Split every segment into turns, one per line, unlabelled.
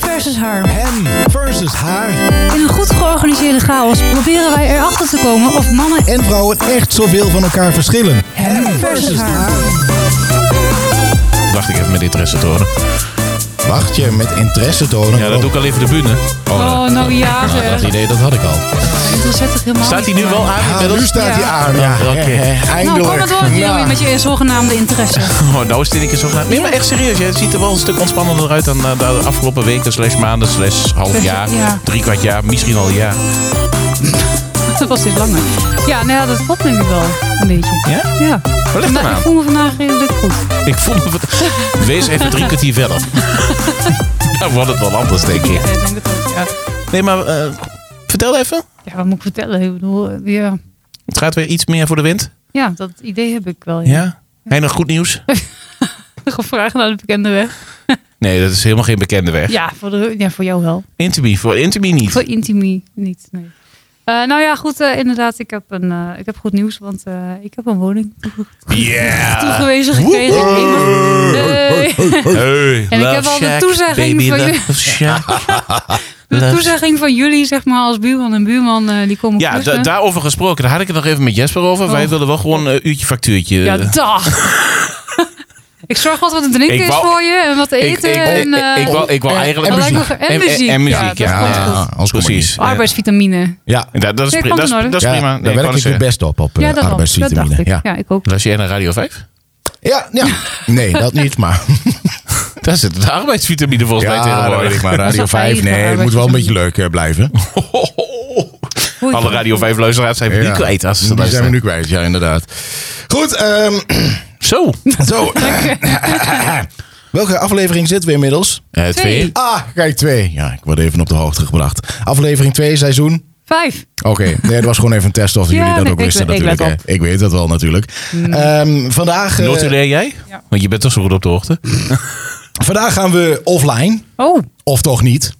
versus haar.
Hem versus haar.
In een goed georganiseerde chaos proberen wij erachter te komen of mannen
En vrouwen echt zoveel van elkaar verschillen.
hem versus haar.
Dacht ik even met interesse te horen.
Wacht je met interesse tonen.
Ja, dat doe ik al even de bühne.
Oh, nou ja
nou, dat
zeg.
idee dat had ik al.
Dat zet toch helemaal
Staat hij
niet voor.
nu wel aan
Ah, nu
inmiddels?
staat hij
Ja.
aan. Ja,
Ja, oké.
Nou,
eindelijk.
kom maar door,
Ja.
Joey, met je zogenaamde interesse.
Oh, nou is dit een keer zo gedaan. Nee, maar echt serieus. hè. Het ziet er wel een stuk ontspannender uit dan eh, de afgelopen weken, slash maanden, slash half jaar.
Ja.
Drie kwart jaar, misschien al een jaar.
Dat was dit langer. Ja, nou ja, dat klopt denk ik wel. Een beetje.
Ja?
Ja.
Waar ligt
Maar
dat
ik
aan?
voel me vandaag redelijk goed.
Ik voel me... wat- Wees even drie kwartier verder. Dan wordt het wel anders, denk ik.
Ja, ik denk het ook, ja.
Nee, maar eh, vertel even.
Ja, wat moet ik vertellen? Ik bedoel, eh, ja.
Het gaat weer iets meer voor de wind.
ja, dat idee heb ik wel. Ja.
Ja? Heinig goed nieuws?
Gevraagd naar de bekende weg.
Nee, dat is helemaal geen bekende weg.
Ja, voor, de, ja, voor jou wel.
Intimi, voor Intimi niet.
Voor Intimi niet, nee. Eh, nou ja, goed, eh, inderdaad, ik heb, een, eh, ik heb goed nieuws, want eh, ik heb een woning
Yeah!
toegewezen gekregen. Hey.
Hey,
En ik
love
heb al de
shack,
toezegging
baby,
van
love
je-
shack.
De toezegging van jullie, zeg maar, als buurman en buurman, eh, die komen
Ja, da-
klussen.
daarover gesproken. Daar had ik het nog even met Jesper over. Wij
Oh.
willen wel gewoon een uurtje factuurtje. Eh,
Ja, dag! ik zorg wat wat te drinken
Ik
is
wou-
voor je en wat te
ik, ik,
eten. en, eh,
ik, wou, ik wou
en-
eigenlijk...
en muziek.
En muziek,
En
ja,
muziek,
dat
ja.
komt
ja,
goed.
Anders kom ik
Previes.
niet.
Ja.
oh, arbeidsvitamine.
Ja,
En Dat, dat is,
Ja,
pri-
komt
dat, is,
in orde.
dat is
Ja,
prima. Nee,
daar
ik
werk
wou net
ik het
zeggen.
best op, op
Ja,
ja,
dat, klopt. dat dacht ik.
Ja.
Ja. ik ook.
Luister jij naar Radio 5?
Ja, ja. nee, dat niet, maar...
Daar zit de arbeidsvitamine volgens mij
Ja, dat
tegenwoordig.
weet ik maar.
Dat
Radio
is wel
5,
fijn,
nee,
maar
het moet wel een beetje leuk eh, blijven.
Oei.
Alle Radio 5 luisteraars zijn we nu kwijt. Als ze
Die zijn we
luisteren.
nu kwijt, ja, inderdaad. Goed, ehm,
Zo.
zo. Welke aflevering zitten we inmiddels?
Eh, twee.
Ah, kijk, twee. Ja, ik word even op de hoogte gebracht. Aflevering 2, seizoen.
Vijf.
Oké, nee, dat was gewoon even een test of
Ja,
jullie dat
nee,
ook
ik
wisten
weet- ik
natuurlijk.
let Hmm.
hè. Ik, weet dat wel natuurlijk. Ehm, vandaag, eh,
Notuleer jij?
Ja.
Want je bent toch zo goed op de hoogte.
vandaag gaan we offline,
Oh,
of toch niet?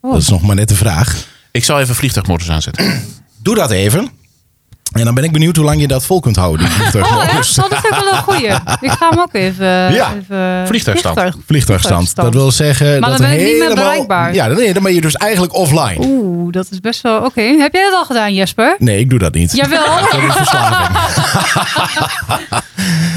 Oh.
Dat is nog maar net de vraag.
Ik zal even vliegtuigmodus aanzetten.
Doe dat even. En dan ben ik benieuwd hoe lang je dat vol kunt houden. die Dus,
oh
vliegtuigmodus.
echt? Oh, dat is ook wel een goeie. Ik ga hem ook even...
Ja,
even eh,
vliegtuigstand.
Vliegtuigstand. Dat wil zeggen
Maar
dat
dan ben
een
ik niet meer
helemaal-
bereikbaar.
Ja, dan, nee, dan ben je dus eigenlijk offline.
Oeh, dat is best wel... Oké, heb jij dat al gedaan, Jesper?
Nee, ik doe dat niet.
Jawel.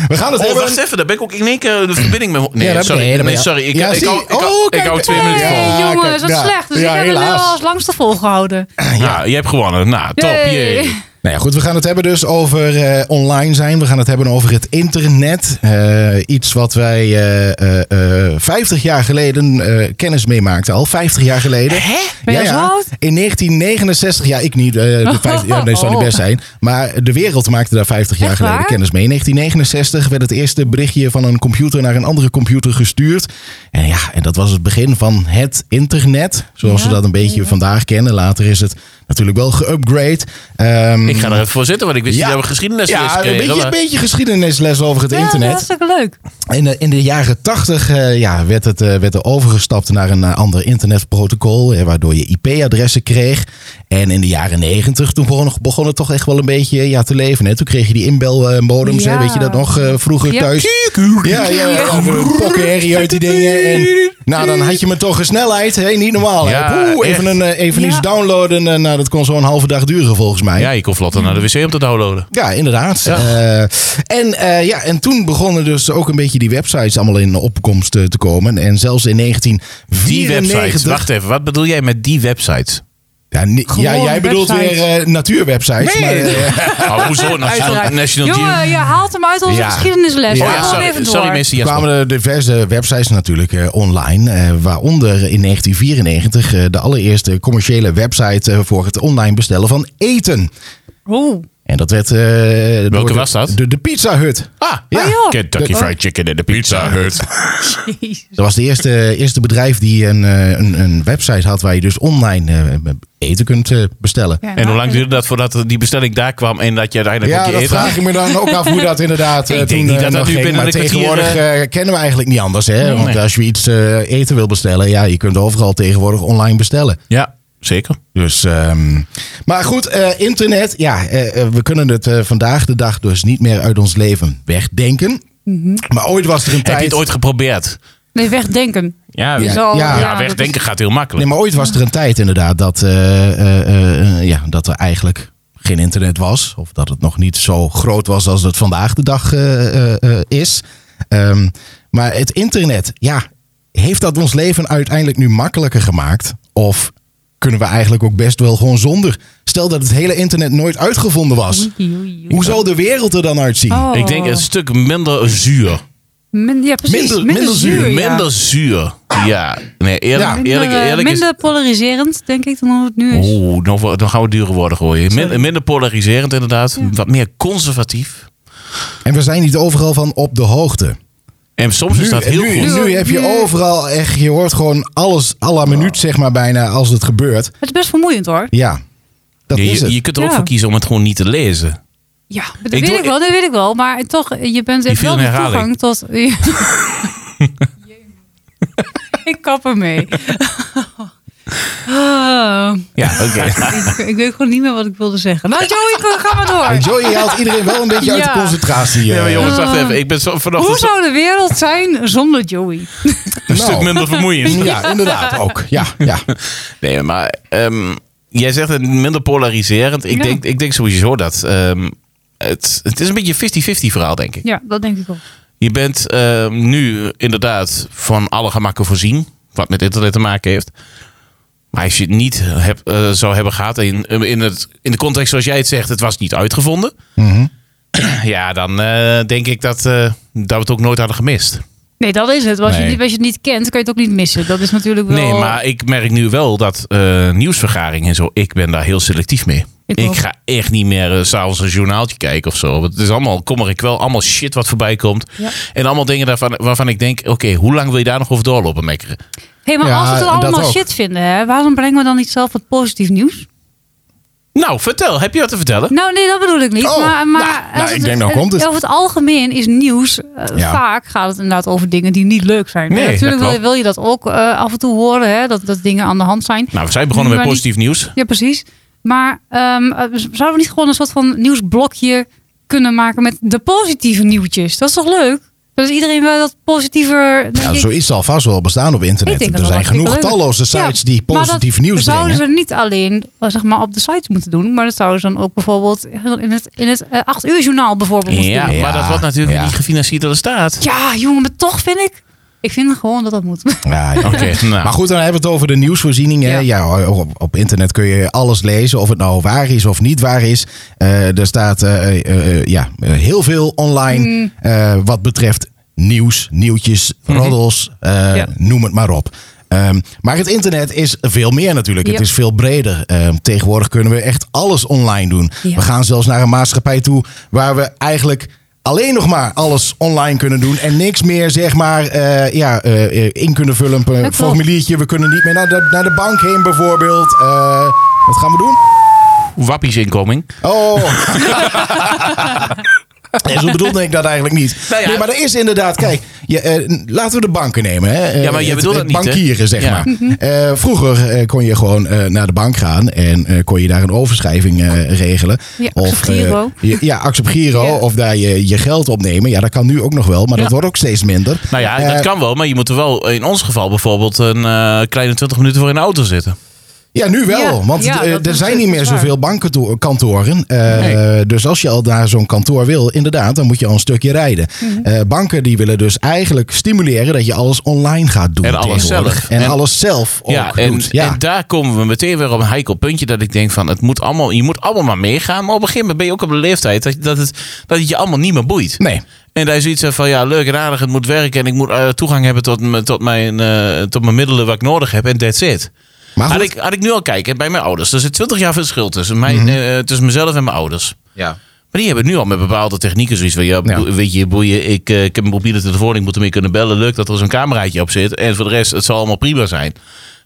We gaan het
Oh,
hebben.
wacht even. Daar ben ik ook in één keer eh, de verbinding mee... Nee,
Ja, dat-
sorry.
nee,
Nee,
dat ben je-
sorry. Ik,
Ja,
ik,
zie-
hou, ik,
Oh,
hou- ik
kijk,
hou twee minuten vol.
Hey,
Ja,
jongens, wat
kijk, ja.
slecht. Dus
Ja,
ik heb het
helaas.
nu al als langste volgehouden.
Ja, je hebt gewonnen. Nou, top.
Yay.
Jee.
Nou ja, goed, we gaan het hebben dus over eh, online zijn. We gaan het hebben over het internet. Eh, iets wat wij eh, eh, eh, 50 jaar geleden eh, kennis meemaakten al. 50 jaar geleden. Hè?
Ben je zo oud?
In 1969, ja, ik niet. eh, de vijf- ja, nee, zou niet best zijn. Maar de wereld maakte daar 50 jaar
Oh. Echt
geleden
waar?
kennis mee. In 1969 werd het eerste berichtje van een computer naar een andere computer gestuurd. En ja, en dat was het begin van het internet. Zoals
Ja.
we dat een beetje
Mhm.
vandaag kennen. Later is het natuurlijk wel geüpgrade. Ehm,
Ik ga er even voor zitten, want ik wist niet dat we geschiedenis
ja,
kregen.
een beetje, een beetje geschiedenisles over het
Ja,
internet.
dat is ook leuk.
In de, in de jaren tachtig ja, werd, het, eh, werd er overgestapt naar een eh, ander internetprotocol, eh, waardoor je IP-adressen kreeg. En in de jaren negentig, toen begon, begon het toch echt wel een beetje ja, te leven. Hè? Toen kreeg je die inbelmodems, hè
Ja.
weet je dat nog, eh, vroeger
Ja.
thuis. Ja, ja, ja, over pokken herrie uit die dingen. En, nou, dan had je me toch een snelheid, hè? niet normaal. hè?
Ja,
Oeh, even,
echt.
een, eh, even
Ja.
iets downloaden, eh, nou, dat kon zo'n halve dag duren volgens mij.
Ja, je kon vlotter naar de wc om te downloaden.
Ja, inderdaad.
Ja.
Eh, en, eh, ja, en toen begonnen dus ook een beetje die websites allemaal in opkomst eh, te komen. En zelfs in
Die websites.
1994...
Wacht even, wat bedoel jij met die websites?
Ja, ni-
Gewoon
ja, jij bedoelt
websites.
weer eh, natuurwebsites.
Nee.
Maar, eh,
Oh, hoezo? National,
Uiteraard.
National
Jongen, je haalt hem uit onze
Ja.
geschiedenisles.
Ja.
Ga
Oh ja,
gewoon
sorry,
even door.
sorry meester Jasper.
kwamen er diverse websites natuurlijk eh, online. eh, waaronder in 1994 eh, de allereerste commerciële website eh, voor het online bestellen van eten.
Oeh.
En dat werd... eh, door de-
was dat?
De, de Pizza Hut.
Ah,
Ja.
joh.
Kentucky
De-
Fried Chicken en de Pizza Hut.
Jezus.
Dat was het eerste, eerste bedrijf die een, eh, een, een website had waar je dus online eh, eten kunt eh, bestellen.
Ja,
En hoe lang duurde dat voordat die bestelling daar kwam en dat je uiteindelijk ook
Ja,
je
dat
eten had?
vraag ik me dan ook af hoe dat inderdaad eh,
denk
toen
niet
eh,
dat dat
nog
nu
ging.
binnen
Maar
de kwartier,
tegenwoordig eh, kennen we eigenlijk niet anders. Hè? Want
Nee.
als je iets eh, eten wil bestellen, ja, je kunt overal tegenwoordig online bestellen.
Ja, zeker.
Dus, ehm, maar goed, eh, internet, ja, eh, eh, we kunnen het eh, vandaag de dag dus niet meer uit ons leven wegdenken. Maar ooit was er een
Heb je
tijd...
het ooit geprobeerd?
Nee, wegdenken.
Ja,
Je
ja,
zal-
ja,
dat is-
wegdenken gaat heel makkelijk.
Nee, maar ooit was er een tijd inderdaad dat, eh, eh, eh, ja, dat er eigenlijk geen internet was. Of dat het nog niet zo groot was als het vandaag de dag eh, eh, eh, is. Ehm, maar het internet, ja, heeft dat ons leven uiteindelijk nu makkelijker gemaakt? Of kunnen we eigenlijk ook best wel gewoon zonder? Stel dat het hele internet nooit uitgevonden was.
Oei, oei, oei.
Hoe zou de wereld er dan uitzien?
Oh.
Ik denk een stuk minder zuur.
Min- ja, precies.
Minder-
Minder,
minder zuur,
zuur. ja.
Minder zuur. Ja. Nee,
Ja.
eerlijk, eerlijk,
Minder, eh,
eerlijk is... Oh.
minder polariserend, denk ik, dan hoe het nu is.
Oeh, dan wo- dan gaan we dure woorden gooien. Min- minder polariserend inderdaad. Wat meer conservatief.
En we zijn niet overal van op de hoogte.
En soms is Dus dat
nu,
heel
nu,
goed.
nu heb je overal echt, je hoort gewoon alles à la minuut, zeg maar bijna, als het gebeurt.
Het is best vermoeiend hoor.
Ja, dat
Je-
is
je,
het.
je kunt er ook
Ja.
voor kiezen om het gewoon niet te lezen.
Ja, dat
Ik
weet
doe- e-
ik wel, dat weet ik wel. Maar toch, je bent je hebt
viel
wel
in
de toegang
herhaling.
tot... ik kap ermee. Ah,
Ja, oké.
ik, ik weet gewoon niet meer wat ik wilde zeggen. Nou Joey, ga maar
En
door.
Joey haalt iedereen wel een beetje uit de
Ja.
concentratie. eh.
Nee, maar jongens, wacht
Ah.
even. Ik ben zo
Hoe
vanochtend zo-
zou de wereld zijn zonder Joey?
een
Nou.
stuk minder vermoeiend.
Ja, inderdaad ook. Ja, ja.
Nee, maar ehm, jij zegt het minder polariserend. Ik,
Ja.
denk, ik denk sowieso dat... ehm, het, het is een beetje een 50-50 verhaal, denk ik.
Ja, dat denk ik wel.
Je bent ehm, nu inderdaad van alle gemakken voorzien. Wat met internet te maken heeft. Maar als je het niet heb, eh, zou hebben gehad. In, in, het, in de context zoals jij het zegt. Het was niet uitgevonden.
Mhm.
Ja, dan eh, denk ik dat, eh, dat we het ook nooit hadden gemist.
Nee, dat is het. Als,
Nee.
je, niet- als je het niet kent, kan je het ook niet missen. Dat is natuurlijk wel...
Nee, maar ik merk nu wel dat eh, nieuwsvergaringen en zo. Ik ben daar heel selectief mee. Ik,
Ik ook.
ga echt niet meer eh, s s'avonds een journaaltje kijken of zo. Want Het is allemaal kommer en kwel. Allemaal shit wat voorbij komt.
Ja.
En allemaal dingen daarvan, waarvan ik denk... Oké, hoe lang wil je daar nog over doorlopen, mekkeren?
hey, maar
Ja,
als we het
dat
allemaal
ook.
shit vinden, hè, waarom brengen we dan niet zelf wat positief nieuws?
Nou, vertel. Heb je wat te vertellen?
Nou, nee, dat bedoel ik niet.
Oh,
maar maar
nou, nou,
als
ik denk, nou komt het.
Over het algemeen is nieuws, eh,
Ja.
vaak gaat het inderdaad over dingen die niet leuk zijn.
Nee,
En natuurlijk
dat
wil, wil je dat ook eh, af en toe horen, hè, dat, dat dingen aan de hand zijn.
Nou, we zijn begonnen
Maar
met
niet-
positief nieuws.
Ja, precies. Maar ehm, eh, zouden we niet gewoon een soort van nieuwsblokje kunnen maken met de positieve nieuwtjes? Dat is toch leuk? Dat is iedereen wel dat positiever... denk
ja
ik,
zoiets zal vast wel bestaan op
Ik denk
internet.
dat
Er
dat
zijn
wel
genoeg
hartstikke leuk
talloze
is.
sites
Ja,
die
maar
positief
dat
nieuws
zouden
brengen.
ze niet alleen eh, zeg maar, op de sites moeten doen, maar dat zouden ze dan ook bijvoorbeeld in het, in het eh, acht uur journaal bijvoorbeeld moeten
Ja,
doen.
maar dat wordt natuurlijk
Ja.
niet gefinancierd door de staat.
Ja, jongen, maar toch vind ik... Ik vind gewoon dat dat moet.
Ja, ja.
Oké, nou.
Maar goed, dan hebben we het over de nieuwsvoorziening. hè.
Ja.
Ja, op, op internet kun je alles lezen, of het nou waar is of niet waar is. Eh, er staat eh, eh, eh, ja, eh, heel veel online
Mm.
eh, wat betreft nieuws, nieuwtjes, roddels, eh,
Mhm. Ja.
noem het maar op. Ehm, maar het internet is veel meer natuurlijk.
Ja.
Het is veel breder. Ehm, tegenwoordig kunnen we echt alles online doen.
Ja.
We gaan zelfs naar een maatschappij toe waar we eigenlijk alleen nog maar alles online kunnen doen. En niks meer, zeg maar, eh, ja, eh, eh, in kunnen vullen per
klopt.
formuliertje. We kunnen niet meer naar de, naar de bank heen bijvoorbeeld. Eh, wat gaan we doen?
Wappies inkoming.
Oh. Nee, zo bedoelde ik dat eigenlijk niet.
Nou ja.
Nee, maar er is inderdaad, kijk, je, eh, n- laten we de banken nemen. Hè? Eh,
Ja, maar je
het-
bedoelt
het
dat niet, hè?
Bankieren, zeg
Ja. Mhm.
maar. Eh, vroeger eh, kon je gewoon eh, naar de bank gaan en eh, kon je daar een overschrijving eh, regelen.
Ja, accept Giro.
eh, je- ja, accept Giro.
Ja.
Of daar je, je geld opnemen. Ja, dat kan nu ook nog wel, maar dat
Ja.
wordt ook steeds minder.
Nou ja,
Eh,
dat kan wel, maar je moet er wel in ons geval bijvoorbeeld een eh, kleine 20 minuten voor in de auto zitten.
Ja, nu wel.
Ja,
want
ja,
eh,
dat
er
is
zijn niet meer
waar.
zoveel bankenkantoren. Eh,
Nee.
Dus als je al naar zo'n kantoor wil, inderdaad, dan moet je al een stukje rijden.
Mhm.
Eh, banken die willen dus eigenlijk stimuleren dat je alles online gaat doen.
En alles
tegenwoordig.
zelf.
En,
En-
alles zelf ook
ja, en,
doet. Ja.
en daar komen we meteen weer op een heikel puntje dat ik denk van het moet allemaal, je moet allemaal maar meegaan. Maar op een gegeven moment ben je ook op de leeftijd dat, dat, het, dat het je allemaal niet meer boeit.
nee.
En daar is iets van, ja, leuk en aardig, het moet werken en ik moet eh, toegang hebben tot, m- tot, mijn, eh, tot mijn middelen wat ik nodig heb en that's it.
Maar
Had
Ah, goed.
ik, had ik nu al kijken bij mijn ouders, er zit 20 jaar verschil tussen, mijn,
Mhm.
eh, tussen mezelf en mijn ouders.
Ja.
Maar die hebben nu al met bepaalde technieken zoiets van... Ja,
Ja.
boe- weet je, boeien, ik, eh, ik heb een mobiele telefoon, ik moet ermee kunnen bellen. Leuk dat er zo'n cameraatje op zit. En voor de rest, het zal allemaal prima zijn.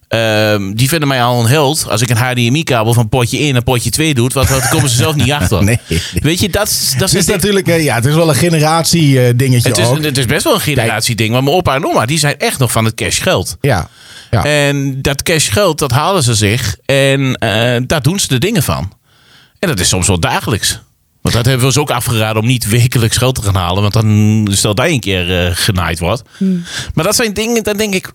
Ehm, die vinden mij al een held als ik een HDMI-kabel van potje 1 naar potje 2 doe. Want daar komen ze zelf niet achter.
Nee.
Weet je, dat, is- dat
Het is
is...
natuurlijk, eh, ja, het is wel een generatie eh, dingetje
Het is,
ook.
het is best wel een generatieding. Maar mijn opa en oma, die zijn echt nog van het cashgeld.
Ja. ja.
En dat cashgeld, dat halen ze zich. En eh, daar doen ze de dingen van. En dat is soms wel dagelijks. Want dat hebben we ons ook afgeraden om niet wekelijks geld te gaan halen. Want dan stel dat een keer eh, genaaid wordt.
Hmm.
Maar dat zijn dingen, dan denk ik.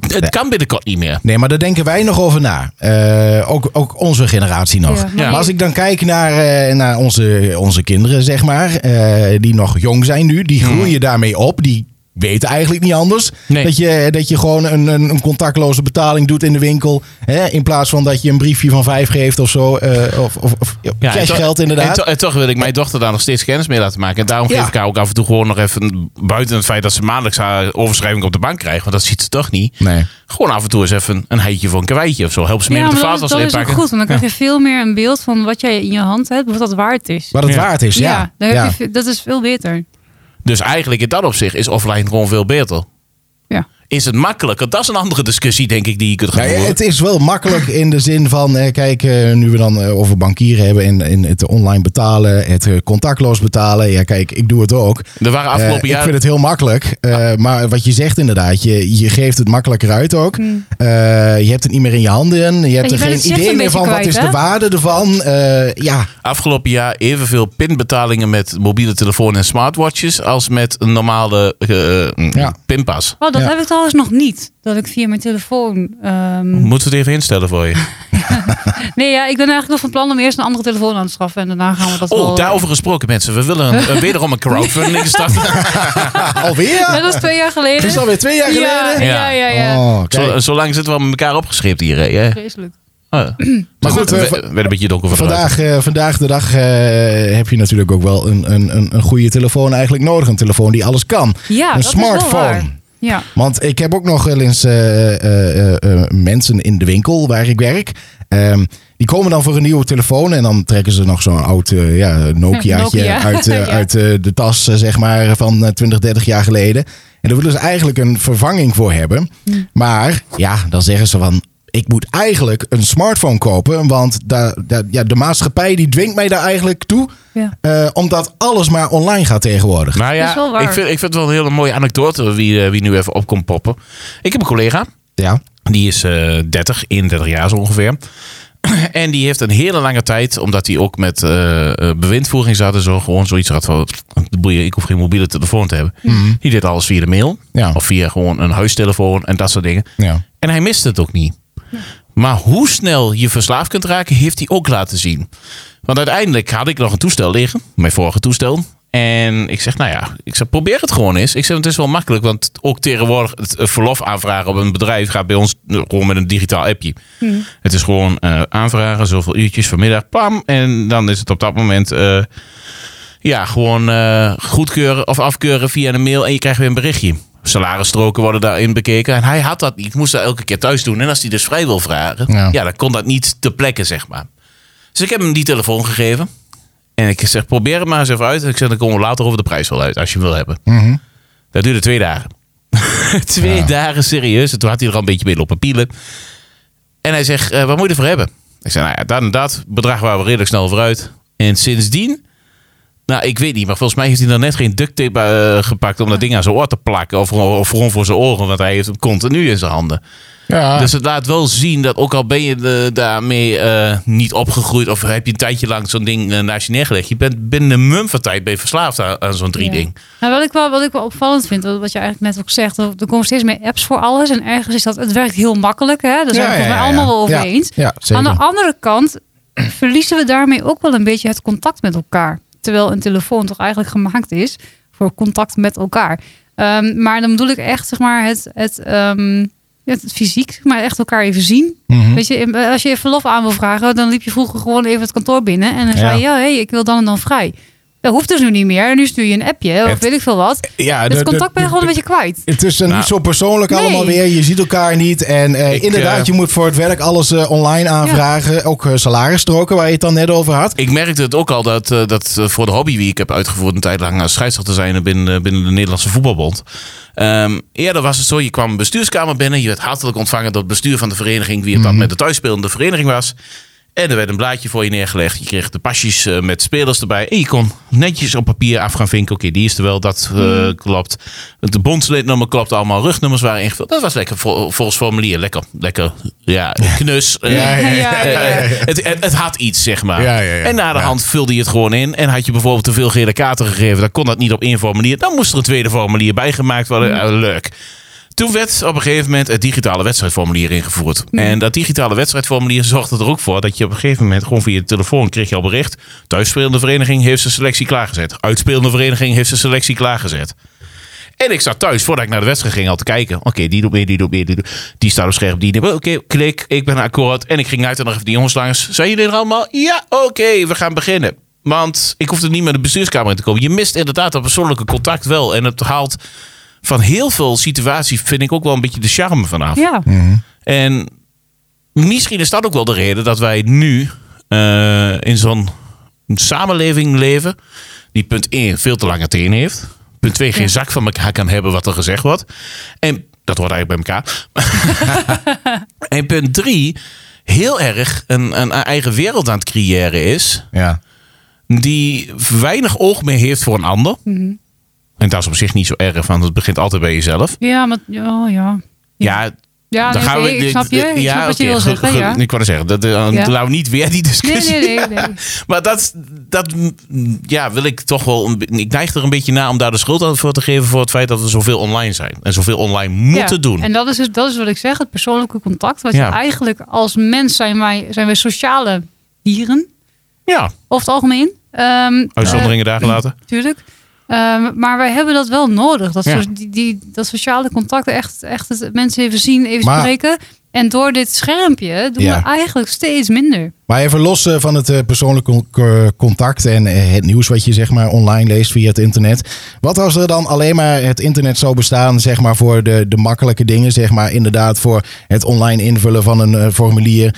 Het kan binnenkort niet meer.
Nee, maar daar denken wij nog over na. Eh, ook, ook onze generatie nog.
Ja,
maar
maar Ja.
als ik dan kijk naar, eh, naar onze, onze kinderen, zeg maar, eh, die nog jong zijn nu, die groeien daarmee op. Die weten eigenlijk niet anders.
Nee.
Dat, je, dat je gewoon een, een, een contactloze betaling doet in de winkel. Hè, in plaats van dat je een briefje van vijf geeft of zo. eh, of of, of
Ja, en toch-
cashgeld
En,
inderdaad.
to- en toch wil ik mijn dochter daar nog steeds kennis mee laten maken. En daarom
Ja.
geef ik haar ook af en toe gewoon nog even... buiten het feit dat ze maandelijks haar overschrijving op de bank krijgt... want dat ziet ze toch niet.
Nee.
Gewoon af en toe eens even een heitje voor een kwijtje of zo. Help ze mee
Ja,
met de
maar dat,
vaatwas
dat is ook
inpakken.
goed, want dan krijg je veel meer een beeld van wat jij in je hand hebt, wat dat waard is.
Wat het
Ja.
waard is, ja.
dan heb
Ja.
je ve- dat is veel beter.
Dus eigenlijk in dat opzicht is offline gewoon veel beter.
Ja.
Is het makkelijker? Dat is een andere discussie, denk ik, die je kunt gaan
Nou,
voeren.
het is wel makkelijk in de zin van, eh, kijk, eh, nu we dan eh, over bankieren hebben en, en het online betalen, het eh, contactloos betalen. Ja, kijk, ik doe het ook.
Er waren
Eh,
afgelopen
ik
jaar...
vind het heel makkelijk. eh, Maar wat je zegt inderdaad, je, je geeft het makkelijker uit ook. Eh, je hebt het niet meer in je handen. Je hebt
Hmm. je
er
bent
geen
het zicht
idee
een
meer
beetje
van wat
kwijt,
is de
hè?
waarde ervan. Eh, ja,
Afgelopen jaar evenveel pinbetalingen met mobiele telefoon en smartwatches... als met een normale eh,
Ja.
pinpas.
Oh, dat
Ja.
heb ik trouwens nog niet. Dat ik via mijn telefoon. ehm,
Hm. Moeten we het even instellen voor je?
Nee, ja, ik ben eigenlijk nog van plan om eerst een andere telefoon aan te schaffen. En daarna gaan we dat
Oh,
wel...
daarover gesproken mensen. We willen een, een- wederom een crowdfunding starten.
Dat
alweer?
was twee jaar geleden.
Het is alweer twee jaar
Ja,
geleden.
ja, ja. ja.
Oh, kijk.
Zo- Zolang zitten we met elkaar opgeschript hier. Hè? Ja.
Vreselijk.
Ah. Maar
goed,
goed,
eh,
we,
va-
we werden een beetje donker van vandaag.
Vandaag, eh, vandaag de dag eh, heb je natuurlijk ook wel een, een, een, een goede telefoon eigenlijk nodig. Een telefoon die alles kan.
Ja,
een
dat is wel
smartphone.
waar. Ja.
Want ik heb ook nog wel eens eh, eh, eh, eh, mensen in de winkel waar ik werk. Ehm, die komen dan voor een nieuwe telefoon en dan trekken ze nog zo'n oud eh, ja, Nokiaatje
Nokia.
uit, eh,
Ja.
uit eh, de tas, eh, zeg maar, van eh, 20, 30 jaar geleden. En daar willen ze eigenlijk een vervanging voor hebben.
Hm.
Maar ja, dan zeggen ze van. Ik moet eigenlijk een smartphone kopen, want daar, daar- ja, de maatschappij die dwingt mij daar eigenlijk toe.
Ja.
eh, omdat alles maar online gaat tegenwoordig.
Nou
Dat is wel
ja,
waar.
ik vind, ik vind het wel een hele mooie anekdote wie, eh, wie nu even op komt poppen. Ik heb een collega,
Ja,
die is eh 30, 31 jaar zo ongeveer. En die heeft een hele lange tijd, omdat hij ook met eh, eh, bewindvoering zat en zo, gewoon zoiets had van, "Pff, boeien, ik hoef geen mobiele telefoon te hebben. Die deed alles via de mail,
Ja.
of via gewoon een huistelefoon en dat soort dingen.
ja.
En hij mist het ook niet. Maar hoe snel je verslaafd kunt raken, heeft hij ook laten zien. Want uiteindelijk had ik nog een toestel liggen, mijn vorige toestel. En ik zeg, nou ja, ik zeg, probeer het gewoon eens. Ik zeg, het is wel makkelijk, want ook tegenwoordig het eh, verlof aanvragen op een bedrijf gaat bij ons eh, gewoon met een digitaal appje. Het is gewoon eh, aanvragen, zoveel uurtjes vanmiddag, pam. En dan is het op dat moment eh, ja, gewoon eh, goedkeuren of afkeuren via een mail en je krijgt weer een berichtje. Salarisstroken worden daarin bekeken. En hij had dat niet. Ik moest dat elke keer thuis doen. En als hij dus vrij wil vragen,
Ja.
ja. dan kon dat niet ter plekke, zeg maar. Dus ik heb hem die telefoon gegeven. En ik zeg, probeer het maar eens even uit. En ik zeg, dan komen we later over de prijs wel uit, als je hem wil hebben.
Mhm.
Dat duurde twee dagen. twee dagen serieus. En toen had hij er al een beetje mee lopen pielen. En hij zegt, eh, wat moet je ervoor hebben? Ik zei, nou ja, dat en dat. Bedrag waren we redelijk snel vooruit. En sindsdien... Nou, ik weet niet, maar volgens mij heeft hij dan net geen duct tape eh, gepakt om dat ding aan zijn oor te plakken. Of, of gewoon voor zijn oren, want hij heeft hem continu in zijn handen.
ja.
Dus het laat wel zien dat ook al ben je eh, daarmee eh, niet opgegroeid of heb je een tijdje lang zo'n ding eh, naast je neergelegd. Je bent binnen een mum van tijd ben je verslaafd aan, aan zo'n drie
Ja.
ding.
Nou, wat, ik wel, wat ik wel opvallend vind, wat wat je eigenlijk net ook zegt, er er komen steeds meer apps voor alles. En ergens is dat, het werkt heel makkelijk. Hè? Daar zijn we
Ja,
volgens
ja,
mij
ja,
allemaal
ja.
wel over
Ja,
eens.
ja, zeker.
Aan de andere kant verliezen we daarmee ook wel een beetje het contact met elkaar. Terwijl een telefoon toch eigenlijk gemaakt is voor contact met elkaar. Ehm, maar dan bedoel ik echt, zeg maar, het, het, ehm, het, het fysiek, zeg maar echt elkaar even zien.
Mhm.
Weet je, in- als je je verlof aan wil vragen, dan liep je vroeger gewoon even het kantoor binnen. En dan
Ja.
zei je, oh, hey, ik wil dan en dan vrij. Dat hoeft dus nu niet meer. Nu stuur je een appje of
Het-
weet ik veel wat.
ja,
Het
de- de-
contact ben je gewoon
de-
een beetje kwijt.
Het is eh,
Nou,
niet zo persoonlijk
nee.
allemaal weer. Je ziet elkaar niet. En eh,
Ik,
inderdaad,
eh,
je moet voor het werk alles eh, online aanvragen. Ook eh, salarisstroken waar je het dan net over had.
Ik merkte het ook al dat, eh, dat eh, voor de hobby die ik heb uitgevoerd een tijd lang als scheidsrechter zijn binnen, eh, binnen de Nederlandse voetbalbond. Ehm eerder was het zo, je kwam een
Mhm.
bestuurskamer binnen, je werd hartelijk ontvangen door het bestuur van de vereniging, wie het dan met de thuisspelende vereniging was. En er werd een blaadje voor je neergelegd. Je kreeg de pasjes eh, met spelers erbij. En je kon netjes op papier af gaan vinken. Oké, die is er wel, dat eh,
Mhm.
klopt. De bondslidnummer klopt allemaal. Rugnummers waren ingevuld. Dat was lekker vol- volgens formulier. Lekker, lekker ja, knus. Eh,
Ja, ja, ja.
Ja, ja, ja.
eh, het, het, het had iets, zeg maar.
Ja, ja, ja.
En na de
Ja.
hand vulde je het gewoon in. En had je bijvoorbeeld te veel gele kaarten gegeven, dan kon dat niet op één formulier. Dan moest er een tweede formulier bijgemaakt worden. Eh, leuk. Toen werd op een gegeven moment het digitale wedstrijdformulier ingevoerd. En dat digitale wedstrijdformulier zorgde er ook voor dat je op een gegeven moment gewoon via de telefoon kreeg je al bericht. Thuisspelende vereniging heeft zijn selectie klaargezet. Uitspelende vereniging heeft zijn selectie klaargezet. En ik zat thuis voordat ik naar de wedstrijd ging al te kijken. Oké, die doet meer, die doet meer, die doet. Die staat op scherp, die doet meer. Oké, klik, ik ben akkoord. En ik ging uit en nog even die jongens langs. Zijn jullie er allemaal? Ja, oké, we gaan beginnen. Want ik hoefde niet met de bestuurskamer in te komen. Je mist inderdaad dat persoonlijke contact wel. En het haalt van heel veel situaties, vind ik ook wel een beetje de charme vanaf.
Ja.
En misschien is dat ook wel de reden dat wij nu eh, in zo'n samenleving leven. Die punt 1 veel te lange teen heeft. Punt 2 geen zak van elkaar kan hebben wat er gezegd wordt. En dat hoort eigenlijk bij elkaar. en punt 3 heel erg een, een eigen wereld aan het creëren is
Ja.
die weinig oog meer heeft voor een ander. En dat is op zich niet zo erg, want het begint altijd bij jezelf.
Ja, maar oh, ja.
Ja,
Ja,
dan
nee,
gaan we.
ik snap je. Ik
ja,
snap wat je
oké,
wil
ge-
zeggen.
ge-
ja.
Ik wou net zeggen, dat, eh,
Ja.
laten we niet weer
Nee,
die
Dus
discussie.
nee, nee. nee.
Maar dat, dat mm, ja, wil ik toch wel. een be- ik neig er een beetje na om daar de schuld aan voor te geven voor het feit dat we zoveel online zijn. En zoveel online moeten
Ja,
doen.
En dat is, dus- dat is wat ik zeg, het persoonlijke contact. Wat
Ja.
je eigenlijk als mens zijn wij, zijn wij sociale dieren,
ja,
over het algemeen. Ehm, eh,
uitzonderingen daar gelaten.
Tuurlijk. Ehm, maar wij hebben dat wel nodig. Dat,
Ja.
so- die, die, dat sociale contact, echt, echt het mensen even zien, even
Maar-
spreken. En door dit schermpje doen
Ja.
we eigenlijk steeds minder.
Maar even los eh, van het eh, persoonlijke con- eh, contact en eh, het nieuws wat je zeg maar online leest via het internet. Wat als er dan alleen maar het internet zou bestaan zeg maar voor de, de makkelijke dingen zeg maar inderdaad voor het online invullen van een eh, formulier,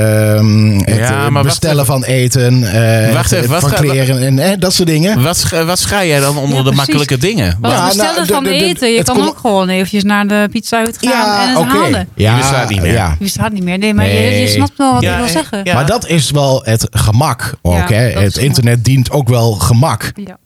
ehm, het
Ja,
eh,
maar wacht
bestellen
even.
van eten, eh,
Wacht
het-
even,
het
wat
van
ga-
kleren en eh, dat soort dingen.
Wat, sch- wat schrijf jij dan onder
Ja,
de
precies.
makkelijke dingen?
Wat
Ja, nou,
bestellen
de-
van
de- de-
eten. Je
het
kan
komt-
ook gewoon eventjes naar de pizza uit gaan en het
oké.
halen.
Die bestaat niet meer.
Ja.
Je bestaat niet meer. Nee, maar je- Je,
Nee.
snapt wel wat
Ja,
ik wil
eh,
zeggen.
ja.
Maar dat is wel het gemak ook.
Ja, dat
hè?
is
Het
gemak.
internet dient ook wel gemak.
Ja.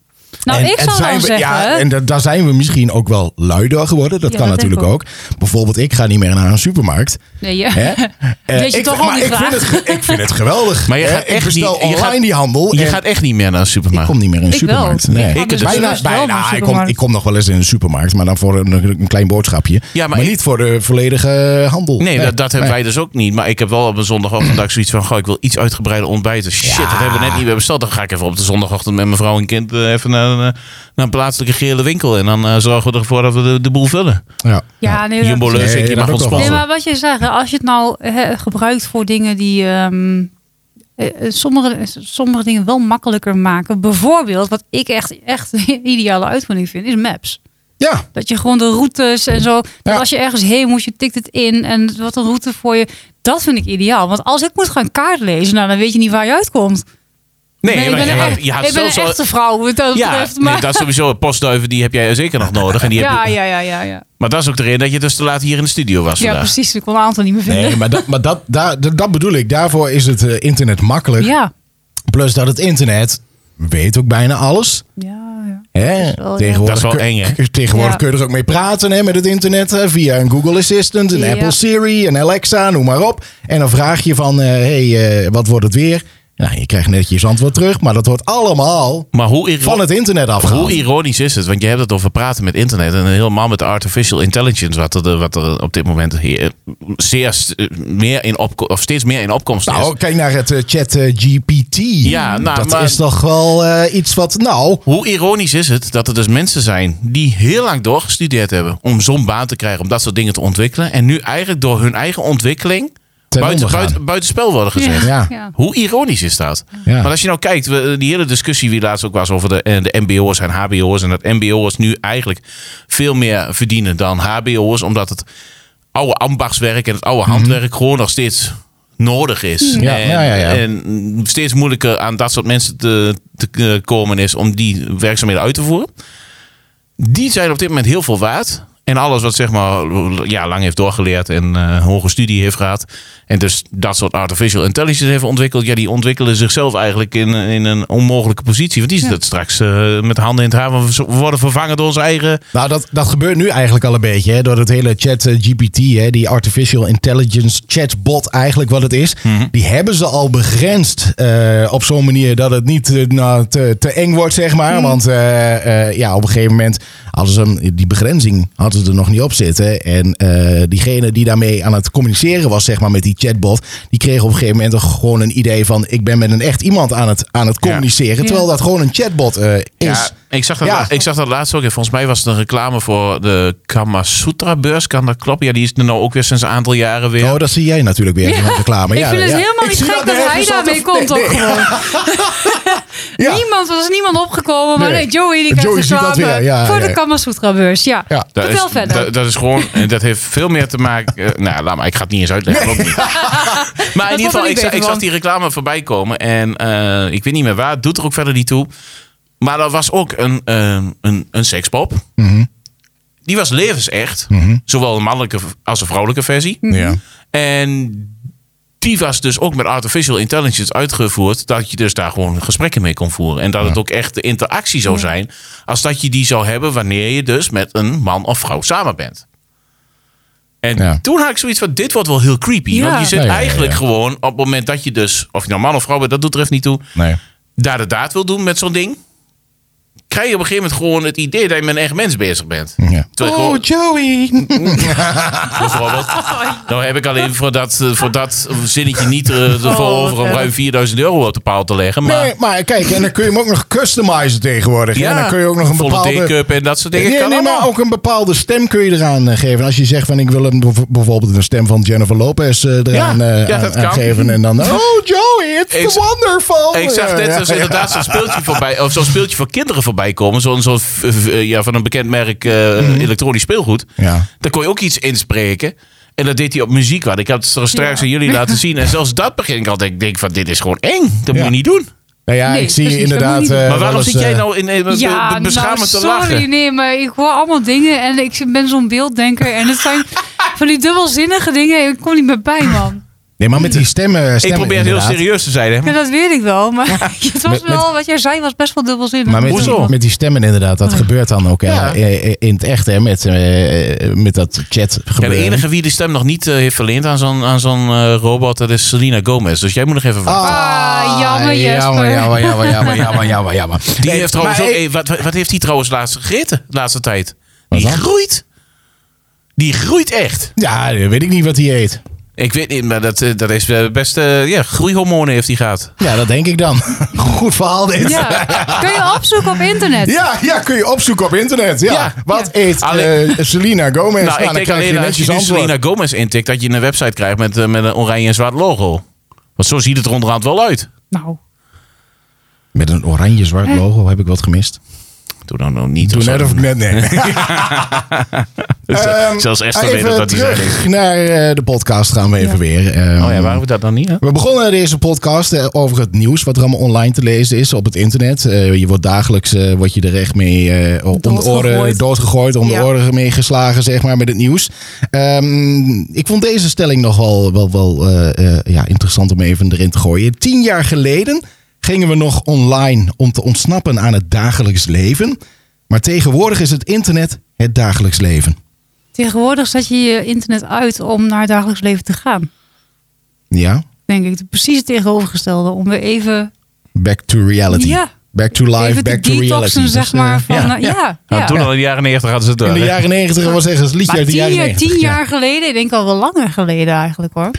Nou,
En-
ik
en
zou
zijn
dan
we-
zeggen...
Ja, en da- daar zijn we misschien ook wel lui door geworden. Dat
Ja,
kan
dat denk
natuurlijk
ik
ook. Bijvoorbeeld, ik ga niet meer naar een supermarkt.
nee, ja.
Hè? Eh,
Weet je
ik,
toch ook
maar
niet
ik vind,
graag?
het, ge- ik vind het geweldig.
Maar je
hè?
gaat
ik
echt
bestel
niet- je
online
gaat-
die handel.
Je
en
gaat echt niet meer naar een
ik
supermarkt.
kom niet meer in de
Ik wel.
supermarkt.
Ik
Nee.
ga
Ik dus
best
bijna,
wel naar
bijna.
de
ah, ik, kom, ik
supermarkt.
kom nog wel eens in de supermarkt, maar dan voor een, een klein boodschapje.
Ja, maar
maar
ik-
niet voor de volledige handel.
Nee, dat, dat hebben
nee.
wij dus ook niet. Maar ik heb wel op een zondagochtend zoiets van... Goh, ik wil iets uitgebreider ontbijten. Shit, dat hebben we net niet meer besteld. Dan ga ik even op de zondagochtend met mijn vrouw en kind... eh, even naar, een, eh, naar een plaatselijke gele winkel. En dan eh, zorgen we ervoor dat we de, de boel vullen.
Ja.
Ja, nee, dat-
Jumbo
Nee,
Leusink,
dat
je mag
ook
ons
wel.
Nee,
sponsoren.
maar wat je zegt, als je het nou hè, gebruikt voor dingen die ehm, eh, eh, sommige, sommige dingen wel makkelijker maken. Bijvoorbeeld, wat ik echt, echt een ideale uitvinding vind, is maps.
ja,
Dat je gewoon de routes en zo. Dat
Ja.
als je ergens heen moet, je tikt het in en wat een route voor je. Dat vind ik ideaal. Want als ik moet gaan kaart lezen, nou, dan weet je niet waar je uitkomt.
Nee,
ik
maar
ben,
je
een,
had-
echt-
je had
ik ben een
sowieso-
echte vrouw, wat dat
Ja,
betreft.
nee,
Maar,
dat is sowieso. Postduiven, die heb jij zeker nog nodig. En die heb
ja,
je-
ja, ja, ja, ja.
Maar dat is ook de reden dat je dus te laat hier in de studio was
Ja,
vandaag.
precies. Ik kon een aantal niet meer vinden.
nee, maar, dat, maar dat, daar, dat bedoel ik. Daarvoor is het eh, internet makkelijk.
ja.
Plus dat het internet weet ook bijna alles.
Ja, ja.
Hè?
is wel, ja.
tegenwoordig
Dat is wel
kun-
eng, hè?
k- Tegenwoordig
Ja.
kun je er ook mee praten hè, met het internet. hè, via een Google Assistant, een
Ja.
Apple Siri, een Alexa, noem maar op. En dan vraag je van, eh, hey, eh, wat wordt het weer? Nou, je krijgt netjes antwoord terug, maar dat wordt allemaal
Maar hoe ironisch...
van het internet afgehaald.
Hoe ironisch is het? Want je hebt het over praten met internet en helemaal met de artificial intelligence, wat er, wat er op dit moment hier, eh, zeer st- eh, meer in opko- of steeds meer in opkomst is.
Nou, kijk naar het eh, chat eh, GPT.
Ja, nou,
dat
maar-
is toch wel eh, iets wat, nou...
Hoe ironisch is het dat er dus mensen zijn die heel lang doorgestudeerd hebben om zo'n baan te krijgen, om dat soort dingen te ontwikkelen. En nu eigenlijk door hun eigen ontwikkeling
Ten
buiten,
onder gaan.
buiten, buitenspel worden gezet.
Ja.
ja.
Hoe ironisch is dat?
Ja.
Maar als je nou kijkt, we- die hele discussie die laatst ook was over de, eh, de MBO's en HBO's. En dat MBO's nu eigenlijk veel meer verdienen dan HBO's. Omdat het oude ambachtswerk en het oude handwerk gewoon nog steeds nodig is.
Ja,
en,
ja, ja, ja.
en steeds moeilijker aan dat soort mensen te, te eh, komen is om die werkzaamheden uit te voeren. Die zijn op dit moment heel veel waard. En alles wat zeg maar ja, lang heeft doorgeleerd en eh hoge studie heeft gehad. En dus dat soort artificial intelligence heeft ontwikkeld. Ja, die ontwikkelen zichzelf eigenlijk in, in een onmogelijke positie. Want die zitten dat straks eh, met de handen in het haar. Want we zo- we worden vervangen door onze eigen...
Nou, dat, dat gebeurt nu eigenlijk al een beetje. Hè, door het hele chat eh, GPT, hè, die artificial intelligence chatbot eigenlijk wat het is. Die hebben ze al begrensd eh, op zo'n manier dat het niet eh, nou, te, te eng wordt, zeg maar. Want eh, eh, ja, op een gegeven moment hadden ze hem, die begrenzing hadden ze er nog niet op zitten. En eh, diegene die daarmee aan het communiceren was, zeg maar, met die chatbot. Die kreeg op een gegeven moment toch gewoon een idee van... ik ben met een echt iemand aan het, aan het communiceren.
Ja.
Terwijl dat gewoon een chatbot eh, is.
Ja, ik zag dat,
Ja.
la- ik zag dat laatst ook. En volgens mij was het een reclame voor de Kama Sutra beurs. Kan dat kloppen? Ja, die is er nou ook weer sinds een aantal jaren weer.
Nou,
Oh, dat zie jij natuurlijk weer in de reclame.
ik
ja,
vind het
ja.
helemaal
Ik
niet
zie
gek dat
nergens
hij
op
daarmee
de-
komt.
Nee,
ook
nee.
gewoon.
Ja.
Niemand, er is niemand opgekomen. Maar
Nee.
nee, Joey die
Joey
krijgt
ziet
reclame
dat weer, ja,
voor
ja,
de
ja.
Kama Sutra beurs. Ja,
Ja.
Dat
vertel
is,
verder.
Dat, dat is gewoon, en dat heeft veel meer te maken. eh, nou, laat maar, ik ga het niet eens uitleggen. ook niet. maar in
wordt er
ieder geval,
niet
ik, zag-
beter
ik zag
van.
die reclame voorbij komen. En eh, ik weet niet meer waar, het doet er ook verder niet toe. Maar er was ook een, eh, een, een sekspop.
Mhm.
Die was levensecht, zowel een mannelijke als een vrouwelijke versie.
Mhm.
Ja.
En die was dus ook met artificial intelligence uitgevoerd. Dat je dus daar gewoon gesprekken mee kon voeren. En dat het ook echt de interactie zou zijn. Als dat je die zou hebben wanneer je dus met een man of vrouw samen bent. En
Ja.
toen had ik zoiets van, dit wordt wel heel creepy.
Ja.
Want je zit
Ja, ja, ja, ja.
eigenlijk gewoon op het moment dat je dus... Of je nou man of vrouw bent, dat doet er even niet toe.
Nee.
Daar de daad wil doen met zo'n ding. Krijg je op een gegeven moment gewoon het idee dat je met een echt mens bezig bent.
Ja.
Terwijl
Oh,
ik gewoon-
Joey.
bijvoorbeeld. Nou heb ik alleen voor dat, eh, voor dat zinnetje niet eh, ervoor
Oh,
over om
ja.
ruim 4000 euro op de paal te leggen. Maar
Nee, maar kijk, en dan kun je hem ook nog customizen tegenwoordig. Ja. En dan kun je ook nog een
volle
bepaalde...
take-up en dat soort dingen.
Nee,
kan
nee, maar
allemaal.
ook een bepaalde stem kun je eraan eh, geven. Als je zegt van ik wil hem bev- bijvoorbeeld de stem van Jennifer Lopez eh, eraan
Ja,
eh,
ja,
aan-
dat
aan
kan.
geven. En dan, oh Joey, it's
Ik z-
the wonderful.
Ik zag
Ja,
net
ja,
dus inderdaad zo'n speeltje voorbij, of zo'n speeltje voor kinderen voorbij komen. Zo'n zo'n, v- v- ja, van een bekend merk eh, elektronisch speelgoed.
Mhm. Ja.
Daar kon je ook iets inspreken. En dat deed hij op muziek. Want ik had het straks aan jullie laten zien. En zelfs dat begin ik altijd. Ik denk van dit is gewoon eng. Dat moet
Ja.
je niet doen.
Nou ja,
Nee,
ik zie
precies, dat
inderdaad...
moet je niet
eh,
doen.
Maar waarom
wel eens,
zit jij
eh,
nou in, eh, be- be-
nou,
beschamend te
sorry,
lachen?
nee, maar ik hoor allemaal dingen en ik ben zo'n beelddenker. En het zijn van die dubbelzinnige dingen. Ik kom niet meer bij, man.
Nee, maar met die stemmen...
Ik
stemmen
probeer het heel
inderdaad.
serieus te zijn. Hè?
Ja, dat weet ik wel. Maar het was
Met- met-
wel, wat jij zei, was best wel dubbelzinnig.
Maar met,
Hoezo?
die, met die stemmen inderdaad, dat gebeurt dan ook eh,
Ja.
eh, in het echt, hè, met, eh, met dat chat
Ja, de
gebeuren.
enige wie de stem nog niet eh, heeft verleend aan zo'n, aan zo'n eh, robot, dat is Selena Gomez. Dus jij moet nog even wachten.
Ah, jammer,
Jammer,
Jesper.
jammer, jammer, jammer, jammer, jammer, jammer.
Die
Nee,
heeft trouwens
maar
ook,
ik-
eh, wat, wat wat heeft die trouwens laatst gegeten, de laatste tijd? die
dan?
groeit. Die groeit echt.
Ja, dat weet ik niet wat hij eet.
Ik weet niet, maar dat, eh, dat is eh, best... eh, ja, groeihormonen heeft hij gehad.
Ja, dat denk ik dan. Goed verhaal dit.
Ja. Kun je opzoeken op internet?
Ja, ja, kun je opzoeken op internet. Ja.
Ja.
Wat eet
Alleen-
eh, Selena Gomez?
nou, ik denk alleen als je nu Selena Gomez intikt, dat je een website krijgt met, eh, met een oranje en zwart logo. Want zo ziet het er onderhand wel uit.
Nou,
Met een oranje-zwart logo heb ik wat gemist.
Doe dan nou niet.
Toen
zo.
net of ik net nee.
Zelfs-
Ehm,
Zelfs Esther
even
weet nog dat hij zei.
terug naar eh, de podcast gaan we even weer. Ehm,
Oh ja, waren we dat dan niet? hè?
We begonnen deze podcast eh, over het nieuws wat er allemaal online te lezen is op het internet. Eh, je wordt dagelijks eh word je er echt mee eh om de oren
Doodgegooid.
doodgegooid, om de
Ja.
oren mee geslagen, zeg maar, met het nieuws. Ehm, ik vond deze stelling nog wel, wel, wel eh, eh, ja, interessant om even erin te gooien. Tien jaar geleden gingen we nog online om te ontsnappen aan het dagelijks leven. Maar tegenwoordig is het internet het dagelijks leven.
tegenwoordig zet je je internet uit om naar het dagelijks leven te gaan.
Ja,
Denk ik. Precies het tegenovergestelde. Om weer even,
back to reality.
Ja.
Back to life,
even te
back to reality.
detoxen, zeg
Dus, eh,
maar. Van,
ja.
eh, ja,
Nou,
ja.
toen al in de jaren 90 hadden ze het
In
wel.
de
hè?
jaren negentig was echt een liedje
Maar
uit de
tien
jaren
jaar,
negentig.
tien jaar geleden, ik denk al wel langer geleden eigenlijk hoor.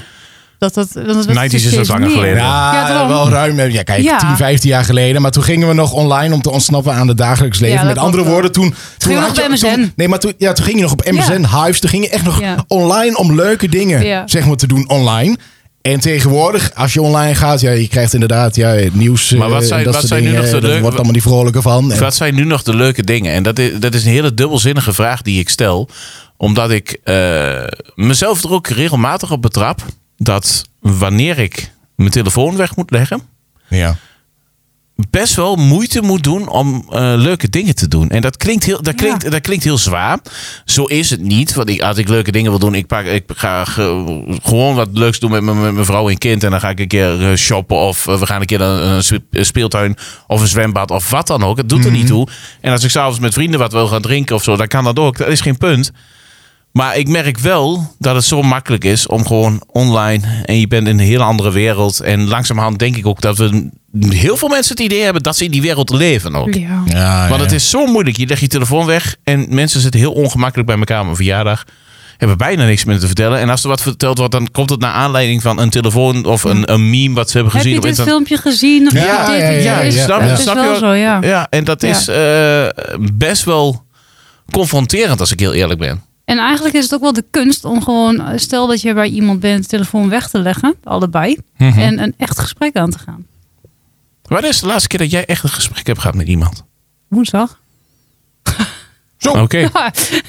Dat dat, dat, dat
90s is dat langer geleden.
Ja,
Ja, daarom.
wel ruim. Ja, kijk,
Ja.
10, 15 jaar geleden. Maar toen gingen we nog online om te ontsnappen aan het dagelijks leven.
Ja, dat
Met andere
klopt wel.
woorden, toen... toen
je nog
had
op MSN?
toen- nee, maar toen, ja, toen ging je nog op MSN, Hives. Toen ging je echt nog
Ja.
online om leuke dingen
Ja.
zeg maar, te doen online. En tegenwoordig, als je online gaat, ja, je krijgt inderdaad ja, het nieuws.
Maar wat
eh,
zijn-
dat
wat
soort
zijn nu
dingen.
nog de
Daar
leuke-
wordt allemaal niet vrolijker van. En-
Wat zijn nu nog de leuke dingen? En dat is, dat is een hele dubbelzinnige vraag die ik stel. Omdat ik eh, mezelf er ook regelmatig op betrap. Dat wanneer ik mijn telefoon weg moet leggen.
ja.
best wel moeite moet doen om eh, leuke dingen te doen. En dat klinkt, heel, dat, klinkt, dat klinkt heel zwaar. Zo is het niet. Want ik, als ik leuke dingen wil doen, ik, pak, ik ga ge- gewoon wat leuks doen met mijn- met mijn vrouw en kind. En dan ga ik een keer eh, shoppen of eh, we gaan een keer naar een spe- speeltuin of een zwembad of wat dan ook. Het doet er niet toe. En als ik s'avonds met vrienden wat wil gaan drinken of zo, dan kan dat ook. Dat is geen punt. Maar ik merk wel dat het zo makkelijk is om gewoon online. En je bent in een hele andere wereld. En langzamerhand denk ik ook dat we heel veel mensen het idee hebben dat ze in die wereld leven ook.
Ja.
Ja,
Want
ja.
het is zo moeilijk. Je legt je telefoon weg en mensen zitten heel ongemakkelijk bij elkaar op een verjaardag. Hebben bijna niks meer te vertellen. En als er wat verteld wordt, dan komt het naar aanleiding van een telefoon of een, een meme wat ze hebben
Heb
gezien
je
op
dit
internet.
filmpje gezien? Of
Ja,
dit,
ja,
dit,
ja,
dit?
ja,
snap,
ja.
Het is
snap je
wel
wat-
zo, ja.
Ja, en dat
Ja.
is eh, best wel confronterend als ik heel eerlijk ben.
En eigenlijk is het ook wel de kunst om gewoon, eh, stel dat je bij iemand bent, de telefoon weg te leggen, allebei,
Mhm.
en een echt gesprek aan te gaan.
Wanneer is de laatste keer dat jij echt een gesprek hebt gehad met iemand?
Woensdag.
Oké.
Oké.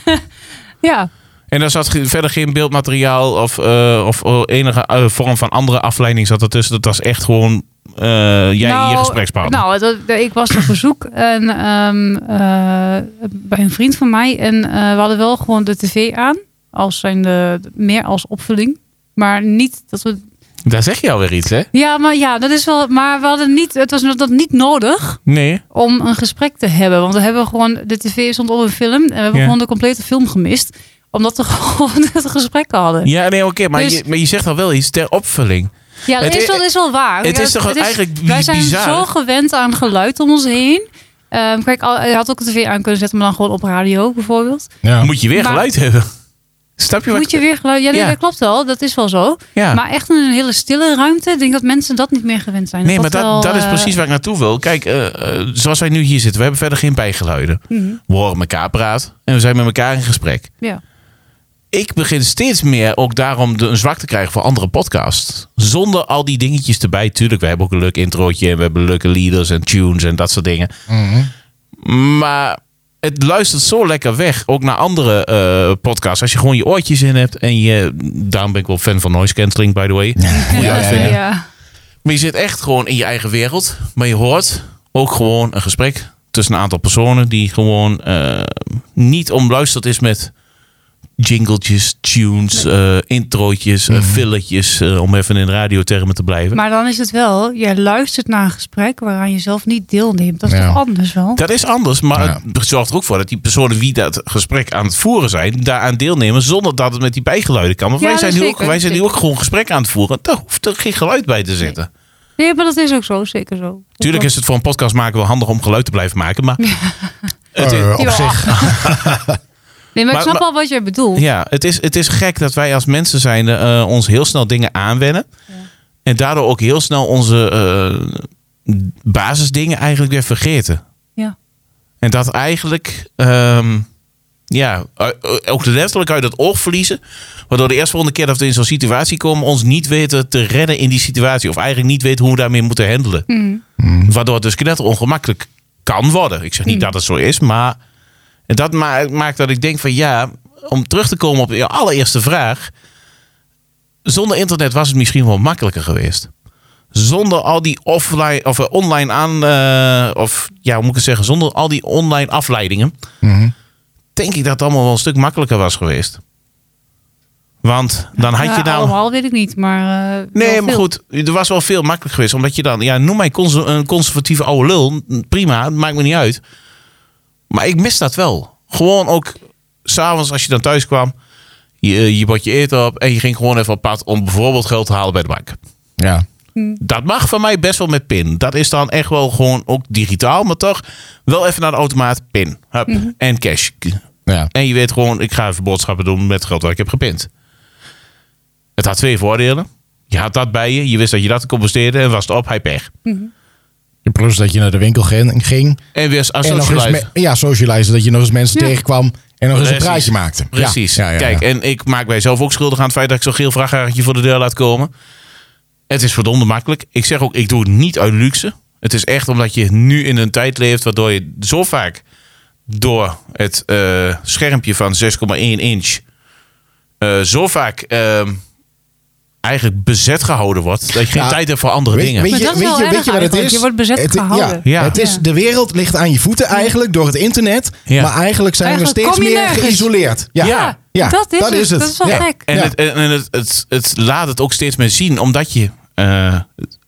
Ja,
En daar zat ge- verder geen beeldmateriaal of, eh, of eh, enige eh, vorm van andere afleiding zat ertussen. Dat was echt gewoon eh, jij en je gesprekspartner.
Nou, dat- ik was op bezoek en, ehm, eh, bij een vriend van mij. En eh, we hadden wel gewoon de tv aan. Als zijn de, meer als opvulling. Maar niet dat we.
daar zeg je alweer iets, hè?
Ja, maar ja, dat is wel. Maar we hadden niet. Het was dat niet nodig
Nee.
om een gesprek te hebben. Want we hebben gewoon. De tv stond op een film. En we hebben
Ja.
gewoon de complete film gemist. Omdat we gewoon het gesprek hadden.
Ja, nee, oké. maar,
Dus-
je, maar je zegt al wel iets ter opvulling.
Ja, dat
Het
is,
is-
wel, dat is wel waar.
het
Ja,
is toch eigenlijk bi-
Wij zijn
bizar?
zo gewend aan geluid om ons heen. Ehm, kijk, al, je had ook de tv aan kunnen zetten, maar dan gewoon op radio bijvoorbeeld.
Ja.
Moet je weer
Maar-
geluid hebben. Snap je wat
Moet je weer geluid... Ja, nee,
Ja.
dat klopt wel. Dat is wel zo.
Ja.
Maar echt in een hele stille ruimte. Ik denk dat mensen dat niet meer gewend zijn.
Nee, maar dat,
wel,
dat is
eh,
precies waar ik naartoe wil. Kijk, eh, eh, zoals wij nu hier zitten, we hebben verder geen bijgeluiden.
Mhm.
We horen elkaar praten en we zijn met elkaar in gesprek.
Ja.
ik begin steeds meer ook daarom de, een zwak te krijgen voor andere podcasts. Zonder al die dingetjes erbij. Tuurlijk, we hebben ook een leuk introotje en we hebben leuke leaders en tunes en dat soort dingen. Maar het luistert zo lekker weg, ook naar andere eh, podcasts. Als je gewoon je oortjes in hebt en je... Daarom ben ik wel fan van noise cancelling, by the way.
Ja,
Ja, ja,
ja,
ja.
ja.
Maar je zit echt gewoon in je eigen wereld. Maar je hoort ook gewoon een gesprek tussen een aantal personen die gewoon eh, niet omluisterd is met jingletjes, tunes, eh, introotjes, eh, filletjes, eh, om even in radiotermen te blijven.
Mhm. Maar dan is het wel, je luistert naar een gesprek waaraan je zelf niet deelneemt. Dat is
Ja.
toch anders wel?
dat is anders, maar
Ja.
het zorgt er ook voor dat die personen wie dat gesprek aan het voeren zijn, daaraan deelnemen zonder dat het met die bijgeluiden kan. Want
Ja,
wij zijn,
dat
nu ook,
zeker,
wij zijn nu
zeker.
ook gewoon gesprek aan het voeren. Daar hoeft er geen geluid bij te zitten.
Nee, maar dat is ook zo. Zeker zo.
Tuurlijk is het voor een podcast maken wel handig om geluid te blijven maken, maar het, is-
Eh, op
Ja.
zich.
Nee, maar,
Maar-
ik snap
maar-
wel wat jij bedoelt.
Ja, het is, het is gek dat wij als mensen zijn eh, ons heel snel dingen aanwennen. En daardoor ook heel snel onze eh, basisdingen eigenlijk weer vergeten.
ja.
En dat eigenlijk, ehm, ja, eh, eh, ook letterlijk uit het oog verliezen. Waardoor de eerstvolgende keer dat we in zo'n situatie komen, ons niet weten te redden in die situatie. Of eigenlijk niet weten hoe we daarmee moeten handelen. Waardoor het dus knetter ongemakkelijk kan worden. Ik zeg niet dat het zo is, maar en dat ma- maakt dat ik denk van ja, om terug te komen op je allereerste vraag. Zonder internet was het misschien wel makkelijker geweest. Zonder al die offline of eh, online aan, eh, of ja, hoe moet ik het zeggen, zonder al die online afleidingen,
Mhm.
denk ik dat het allemaal wel een stuk makkelijker was geweest. Want dan had je
Ja,
nou.
Allemaal weet ik niet, maar... eh,
Nee,
wel
maar
veel.
goed, er was wel veel makkelijk geweest. Omdat je dan, ja, noem mij cons- een conservatieve oude lul. Prima, het maakt me niet uit. Maar ik mis dat wel. Gewoon ook s'avonds als je dan thuis kwam. Je, je bot je eten op en je ging gewoon even op pad om bijvoorbeeld geld te halen bij de bank.
Ja.
Dat mag van mij best wel met pin. Dat is dan echt wel gewoon ook digitaal, maar toch wel even naar de automaat, pin. Hup, En cash.
Ja.
En je weet gewoon, ik ga even boodschappen doen met het geld wat ik heb gepint. Het had twee voordelen. Je had dat bij je, je wist dat je dat kon besteden en was het op, hij pech.
Plus dat je naar de winkel ging. ging
En weer als
en nog eens
socialize.
me- ja, socializen. Dat je nog eens mensen
Ja.
tegenkwam. En nog eens een
Precies.
praatje maakte. Ja.
Precies.
Ja, ja, ja.
Kijk, en ik maak mijzelf ook schuldig aan het feit dat ik zo'n geel vrachtwagentje voor de deur laat komen. Het is verdomde makkelijk. Ik zeg ook, ik doe het niet uit luxe. Het is echt omdat je nu in een tijd leeft waardoor je zo vaak door het eh, schermpje van 6,1 inch eh, zo vaak ehm, eigenlijk bezet gehouden wordt. Dat je geen
Ja.
tijd hebt voor andere
Weet,
dingen.
weet
Maar
je,
dat is
weet
wel
je,
erg
weet je wat het
eigenlijk.
is?
Je wordt bezet
het,
gehouden.
Ja,
Ja.
Het is,
Ja.
de wereld ligt aan je voeten eigenlijk door het internet.
Ja.
Maar eigenlijk zijn
Eigenlijk
we steeds
kom je
meer
nergens.
geïsoleerd. Ja,
Ja.
Ja,
dat is het. Dat is wel
Ja.
gek.
En,
Ja.
het, en en het, het, het laat het ook steeds meer zien, omdat je eh,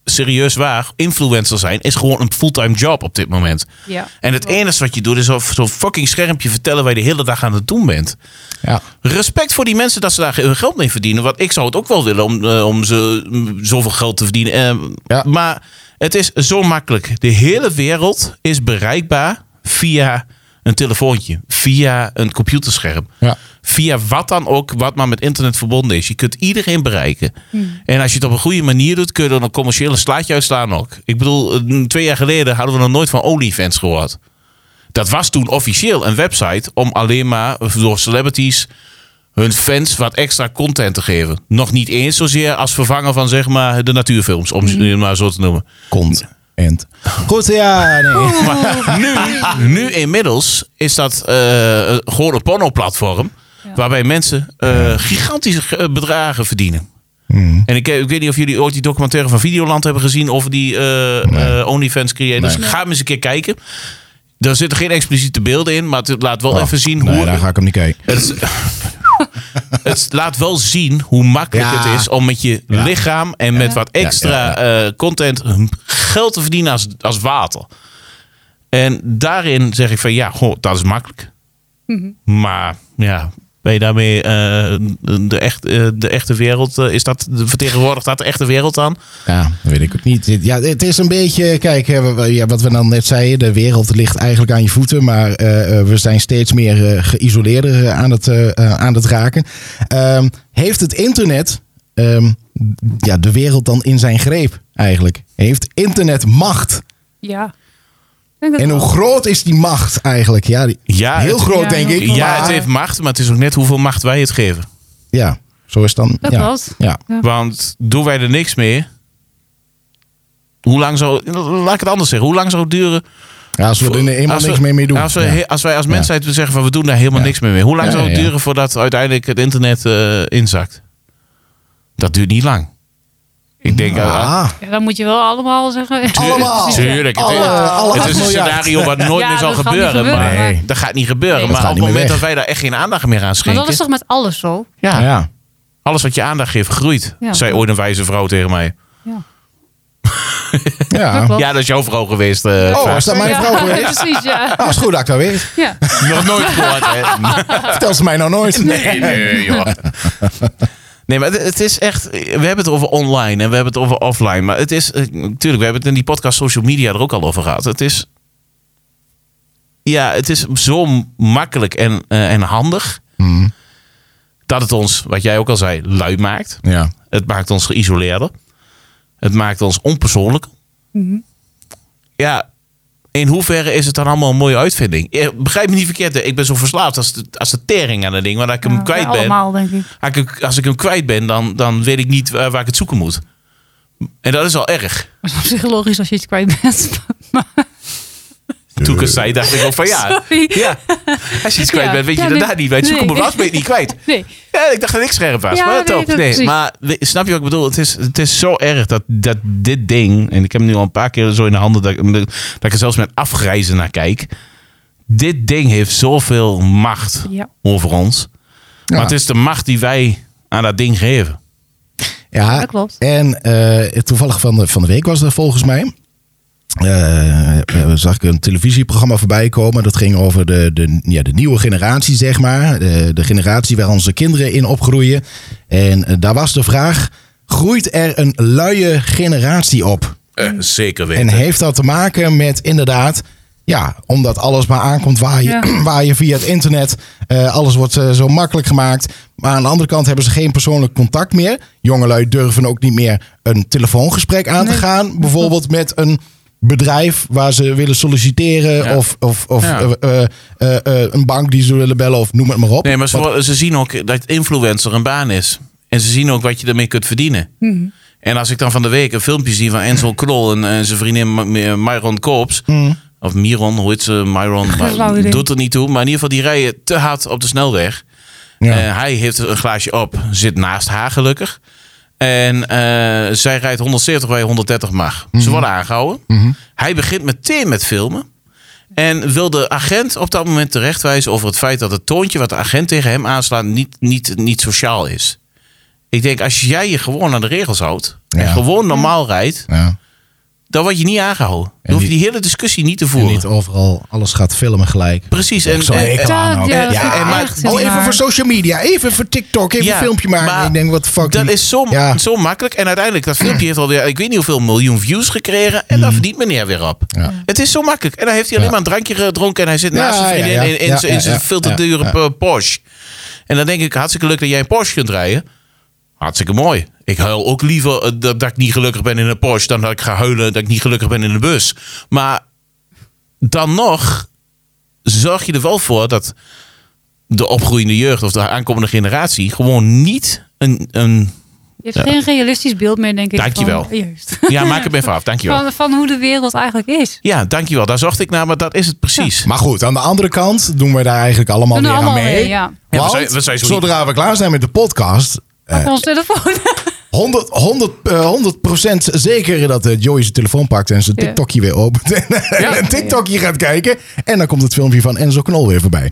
serieus waar influencer zijn is gewoon een fulltime job op dit moment.
Ja.
En het enige wat je doet is op zo'n fucking schermpje vertellen waar je de hele dag aan het doen bent.
Ja.
Respect voor die mensen dat ze daar hun geld mee verdienen. Want ik zou het ook wel willen om, eh, om ze, mm, zoveel geld te verdienen. Eh,
Ja.
Maar het is zo makkelijk. De hele wereld is bereikbaar via een telefoontje, via een computerscherm.
Ja.
Via wat dan ook, wat maar met internet verbonden is. Je kunt iedereen bereiken. En als je het op een goede manier doet, kun je er een commerciële slaatje uitslaan ook. Ik bedoel, eh, twee jaar geleden hadden we nog nooit van OnlyFans gehoord. Dat was toen officieel een website om alleen maar door celebrities hun fans wat extra content te geven. Nog niet eens zozeer als vervanger van zeg maar de natuurfilms, om het maar zo te noemen.
Komt. End. Goed, ja, nee.
Maar nu, nu inmiddels is dat eh, gewoon een pornoplatform. Waarbij mensen eh, gigantische eh, bedragen verdienen.
Hmm.
En ik, ik weet niet of jullie ooit die documentaire van Videoland hebben gezien over die eh, eh, OnlyFans creators. Ga hem eens een keer kijken. Er zitten geen expliciete beelden in, maar het laat wel
Oh,
even zien
nee,
hoe,
daar ga ik hem niet kijken.
het, is- het laat wel zien hoe makkelijk
Ja.
het is om met je
Ja.
lichaam en met wat extra eh, content geld te verdienen als, als water. En daarin zeg ik van ja, goh, dat is makkelijk. Maar ja, ben je daarmee eh, de, echt, eh, de echte wereld, eh, is dat, vertegenwoordigt dat de echte wereld aan?
Ja, dat weet ik ook niet. Dit- Ja, het is een beetje, kijk, hè, we- we- ja, wat we dan net zeiden, de wereld ligt eigenlijk aan je voeten, maar eh, eh, we zijn steeds meer eh, geïsoleerder eh, aan het, eh, eh, aan het raken. Ehm, heeft het internet ehm, ja, de wereld dan in zijn greep eigenlijk? Heeft internet macht?
Ja. Ik denk het
En
wel.
hoe groot is die macht eigenlijk? Ja, die-
Ja,
heel
het-
groot
Ja,
denk
heel
ik.
groot.
ja,
maar-
het heeft macht, maar het is ook net hoeveel macht wij het geven.
ja, zo is het dan.
Dat
ja.
klopt.
Ja.
Want doen wij er niks mee. Hoe lang zou. Laat ik het anders zeggen. Hoe lang zou het duren.
Ja, als we er eenmaal
als we-
niks meer mee doen.
Als, we,
ja.
he- als wij als mensheid zeggen van we doen daar helemaal
Ja.
niks meer mee. Hoe lang
Ja,
zou het
ja, ja.
duren voordat uiteindelijk het internet eh, inzakt? Dat duurt niet lang. Ik denk. ah,
Ah,
Ja, dan moet je wel allemaal zeggen.
allemaal.
Tuurlijk. Het,
Alle- alle
het
acht
is een
Oh. miljard.
scenario wat nooit
Ja,
meer zal
dat gaat niet
gebeuren.
gebeuren,
maar
maar-
Dat gaat niet gebeuren.
Nee,
dat
maar op
gaat
het
niet
moment
meer weg.
dat wij daar echt geen aandacht meer aan
Maar
schenken.
dat is toch met alles zo?
ja,
ja.
Alles wat je aandacht geeft, groeit.
Ja.
Zei ooit een wijze vrouw tegen mij.
Ja.
ja.
klopt.
Ja, dat is jouw vrouw geweest. eh,
Oh,
Vaas.
is dat mijn
Ja,
vrouw geweest?
Precies, ja.
Nou, is goed dat ik dat weet.
ja.
Nog nooit gehoord, hè?
Vertel ze mij nou nooit.
Nee, nee, joh. Nee, maar het- het is echt... We hebben het over online en we hebben het over offline. Maar het is... eh, Tuurlijk, we hebben het in die podcast social media er ook al over gehad. Het is... Ja, het is zo makkelijk en, eh, en handig... dat het ons, wat jij ook al zei, lui maakt.
Ja.
Het maakt ons geïsoleerder. Het maakt ons onpersoonlijk.
Mhm.
Ja, in hoeverre is het dan allemaal een mooie uitvinding? Eh, Begrijp me niet verkeerd, hè. ik ben zo verslaafd als de, als de tering aan dat ding. Maar als ik hem
Ja,
kwijt ben,
Allemaal, denk ik.
als ik, als ik hem kwijt ben, dan, dan weet ik niet waar, waar ik het zoeken moet. En dat is al erg.
Dat is psychologisch als je iets kwijt bent. Maar,
Toen ik het zei, dacht ik ook van ja,
sorry.
ja. als je iets kwijt
Ja.
bent, weet je
Ja,
dat
nee.
daarna niet. Bij het zoeken
Nee.
op was ben je het niet kwijt.
Nee.
Ja, ik dacht dat ik scherp was.
Ja,
maar
nee,
top.
dat
Nee,
precies.
maar we- snap je wat ik bedoel? Het is, het is zo erg dat, dat dit ding, en ik heb hem nu al een paar keer zo in de handen dat, ik- dat ik er zelfs met afgrijzen naar kijk. Dit ding heeft zoveel macht
Ja.
over ons. Maar het is de macht die wij aan dat ding geven.
Ja,
Dat klopt.
En eh, toevallig van de, van de week was er volgens mij. eh, eh, zag ik een televisieprogramma voorbij komen. Dat ging over de, de, ja, de nieuwe generatie, zeg maar. De, de generatie waar onze kinderen in opgroeien. En eh, daar was de vraag: groeit er een luie generatie op?
Eh, zeker
En heeft dat te maken met inderdaad. Ja, omdat alles maar aankomt waar je,
Ja.
waar je via het internet. eh, alles wordt eh, zo makkelijk gemaakt. Maar aan de andere kant hebben ze geen persoonlijk contact meer. Jongelui durven ook niet meer een telefoongesprek aan te gaan. Bijvoorbeeld met een bedrijf waar ze willen solliciteren.
Ja.
Of, of, of
Ja.
eh, eh, eh, eh, een bank die ze willen bellen of noem het maar op.
Nee, maar ze, wo- ze zien ook dat influencer een baan is. En ze zien ook wat je ermee kunt verdienen.
Mhm.
En als ik dan van de week een filmpje zie van Enzo Krol en, en zijn vriendin Ma- Mi- Myron Koops.
Mhm.
Of Miron, hoe heet ze? Myron. maar
flauw idee.
doet er niet toe. Maar in ieder geval, die rijden te hard op de snelweg.
Ja.
Eh, hij heeft een glaasje op. Zit naast haar gelukkig. En eh, zij rijdt 170 waar je 130 mag.
Mhm.
Ze worden aangehouden. Hij begint meteen met filmen. En wil de agent op dat moment terechtwijzen over het feit dat het toontje wat de agent tegen hem aanslaat niet, niet, niet sociaal is. Ik denk, als jij je gewoon aan de regels houdt en
Ja.
gewoon normaal rijdt,
Ja.
dan word je niet aangehouden. Dan hoef je die hele discussie niet te
En
voeren.
niet overal alles gaat filmen gelijk.
Precies. En,
Zo'n
en-
hekel
Ja,
aan ook.
ja, dat vind ik
en- maar-
echt heel
Oh, even
naar.
voor social media. Even voor TikTok. Even
Ja,
een filmpje maken.
maar
ik denk, wat fuck.
Dat is zo,
Ja.
zo makkelijk. En uiteindelijk, dat filmpje heeft alweer, ik weet niet hoeveel miljoen views gekregen. En daar verdient meneer weer op.
Hmm. Ja.
Het is zo makkelijk. En dan heeft hij alleen
Ja.
maar een drankje gedronken. En hij zit naast
Ja,
zijn vriendin
ja, ja.
in, in
Ja,
zijn- in
ja,
zijn
ja,
veel te
ja,
dure
ja.
eh, Porsche. En dan denk ik, hartstikke leuk dat jij een Porsche kunt rijden. Hartstikke mooi. Ik huil ook liever eh, dat, dat ik niet gelukkig ben in een Porsche... dan dat ik ga huilen dat ik niet gelukkig ben in de bus. Maar dan nog zorg je er wel voor dat de opgroeiende jeugd... of de aankomende generatie gewoon niet een... een
Je hebt geen realistisch beeld meer, denk ik.
Dankjewel.
Van, Oh, juist.
ja, maak het me even af. Dankjewel.
Van, van hoe de wereld eigenlijk is.
Ja, dankjewel. Daar zocht ik naar, maar dat is het precies.
Maar goed, aan de andere kant doen we daar eigenlijk allemaal
Doen we
weer aan
allemaal
mee.
mee, ja. Ja,
we
Want
zijn- we zijn zo
zodra we klaar zijn met de podcast... eh,
Op ons telefoon.
100, 100, eh, 100% zeker dat eh, Joey zijn telefoon pakt en zijn
Ja.
TikTokje weer opent. En eh, een TikTokje gaat kijken. En dan komt het filmpje van Enzo Knol weer voorbij.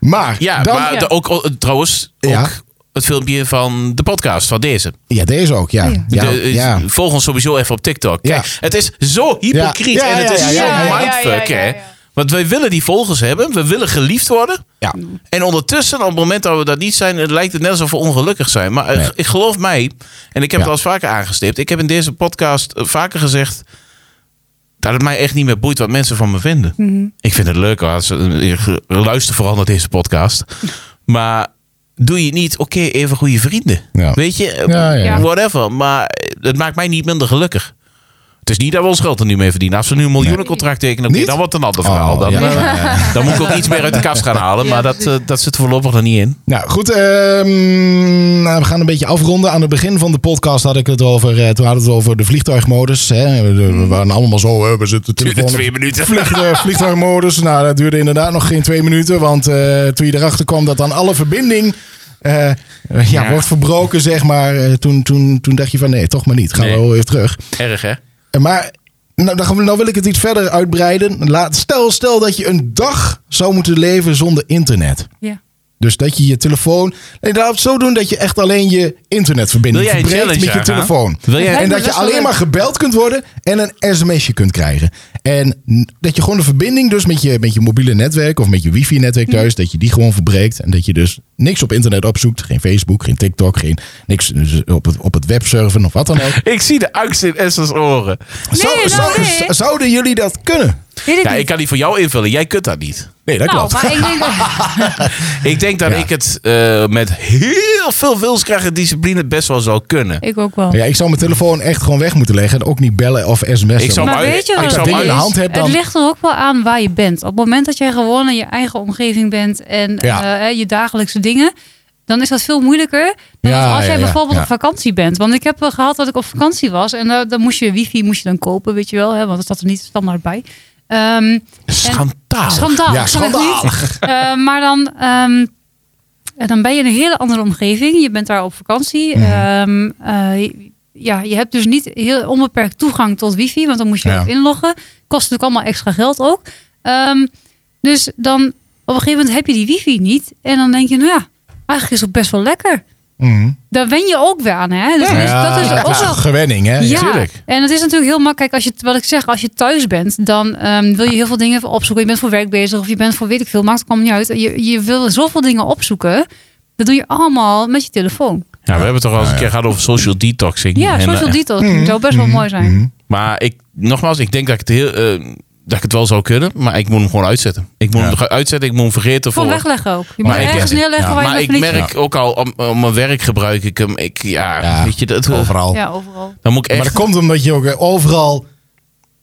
Maar,
Ja,
dan,
maar
Ja.
de- ook, ook- trouwens ook
Ja.
het filmpje van de podcast, van deze.
ja, deze ook,
Oh,
ja. ja. ja,
De- eh, Volg ons sowieso even op TikTok.
Ja.
Kijk, het is zo hypocriet
Ja, ja,
en het is
ja, ja,
zo
ja, ja,
mindfuck.
ja, ja, ja.
hè. Want wij willen die volgers hebben. We willen geliefd worden.
ja.
En ondertussen, op het moment dat we dat niet zijn, het lijkt het net alsof we ongelukkig zijn. Maar eh,
Nee.
ik geloof mij, en ik heb
Ja.
het al eens vaker aangestipt. Ik heb in deze podcast eh, vaker gezegd dat het mij echt niet meer boeit wat mensen van me vinden.
Mhm.
Ik vind het leuk. hoor. Als, eh, eh, luister vooral naar deze podcast. maar doe je het niet, oké, even goede vrienden.
Ja.
Weet je, eh,
Ja, ja, ja.
whatever. Maar eh, het maakt mij niet minder gelukkig. Het is niet dat we ons geld er nu mee verdienen. Als we nu een miljoenencontract tekenen, oké,
Niet?
dan wordt het een ander
Oh,
verhaal. Dan,
ja.
eh, dan moet ik ook iets meer uit de kast gaan halen. Maar dat, eh, dat zit er voorlopig nog niet in.
Nou goed, ehm, nou, we gaan een beetje afronden. Aan het begin van de podcast had ik het over, eh, toen hadden we het over de vliegtuigmodus. Hè. We, we waren allemaal zo, eh, we zitten telefoon. op-
Mm. minuten.
Vlieg, eh, vliegtuigmodus, nou dat duurde inderdaad nog geen twee minuten. Want eh, toen je erachter kwam dat dan alle verbinding eh, eh, ja,
Ja.
wordt verbroken, zeg maar. eh, toen, toen, toen dacht je van nee, toch maar niet. Gaan
Nee.
we wel weer terug.
Erg, hè?
Eh, Maar nou, dan, gaan we- nou wil ik het iets verder uitbreiden. Laat, stel, stel dat je een dag zou moeten leven zonder internet.
ja.
Dus dat je je telefoon. Nee, dat het zo doen dat je echt alleen je internetverbinding
Wil jij een
verbreekt met
challenge
je
aangaan?
telefoon.
Wil jij-
En
Lijkt me
dat je
best wel
alleen
leuk.
maar gebeld kunt worden en een sms'je kunt krijgen. En n- dat je gewoon de verbinding dus met je, met je mobiele netwerk of met je wifi-netwerk thuis, dat je die gewoon verbreekt. En dat je dus niks op internet opzoekt. Geen Facebook, geen TikTok, geen niks dus op het, op het websurfen of wat dan ook.
Ik zie de angst in Esther's oren.
Zou-
nou,
zou-
nee.
z- Zouden jullie dat kunnen?
Weet ik
Ja,
niet.
ik kan die voor jou invullen. Jij kunt dat niet.
Nee, dat
nou,
klopt.
maar ik denk
Ik denk dat
Ja.
ik het eh, met heel veel wilskracht en discipline best wel zou kunnen.
Ik ook wel.
Ja, ik zou mijn telefoon echt gewoon weg moeten leggen. En ook niet bellen of sms'en.
Ik zou
Maar
Maar
weet je
als
wat het
je dat ding in de
is?
hand hebt, dan-
Het ligt er ook wel aan waar je bent. Op het moment dat jij gewoon in je eigen omgeving bent en
Ja.
eh, hè, je dagelijkse dingen, dan is dat veel moeilijker dan
Ja,
als jij
ja, ja,
bijvoorbeeld
ja.
op vakantie bent. Want ik heb wel gehad dat ik op vakantie was en eh, dan moest je wifi moest je dan kopen, weet je wel, hè, want dat staat er niet standaard bij. Ehm
Schandaal.
Schandaal.
Ja,
ik snap het
schandaal.
niet. Eh, maar dan, ehm, eh, dan ben je in een hele andere omgeving. Je bent daar op vakantie. Ehm, eh, ja, je hebt dus niet heel onbeperkt toegang tot wifi, want dan moet je
Ja.
ook inloggen. Kost natuurlijk allemaal extra geld ook. Ehm, dus dan op een gegeven moment heb je die wifi niet. En dan denk je, nou ja, eigenlijk is het best wel lekker.
Mhm.
Daar wen je ook weer aan, hè? Dus, dat is ook wel
gewenning, hè?
ja, en het is natuurlijk heel makkelijk. Als je, wat ik zeg, als je thuis bent, dan ehm, wil je heel veel dingen even opzoeken. Je bent voor werk bezig of je bent voor weet ik veel. Maakt het kwam niet uit. Je, je wil zoveel dingen opzoeken. Dat doe je allemaal met je telefoon.
Ja, we hebben het toch al eens een keer gehad over social detoxing.
Ja,
Mm-hmm. En,
social
eh,
details zou best wel mooi zijn.
Maar ik, nogmaals, ik denk dat ik het heel... eh, dat ik het wel zou kunnen, maar ik moet hem gewoon uitzetten. Ik moet
Ja.
hem uitzetten, ik moet hem vergeten
Gewoon
voor
wegleggen ook. Je
Maar
moet
ik-
ergens neerleggen
ja,
waar je
Maar
het
ik
niet...
merk ook al, om, om mijn werk gebruik ik hem. Ik, ja,
Ja,
weet je, dat,
Overal.
Ja, overal.
dan moet ik
Maar
echt...
dat komt omdat je ook eh, overal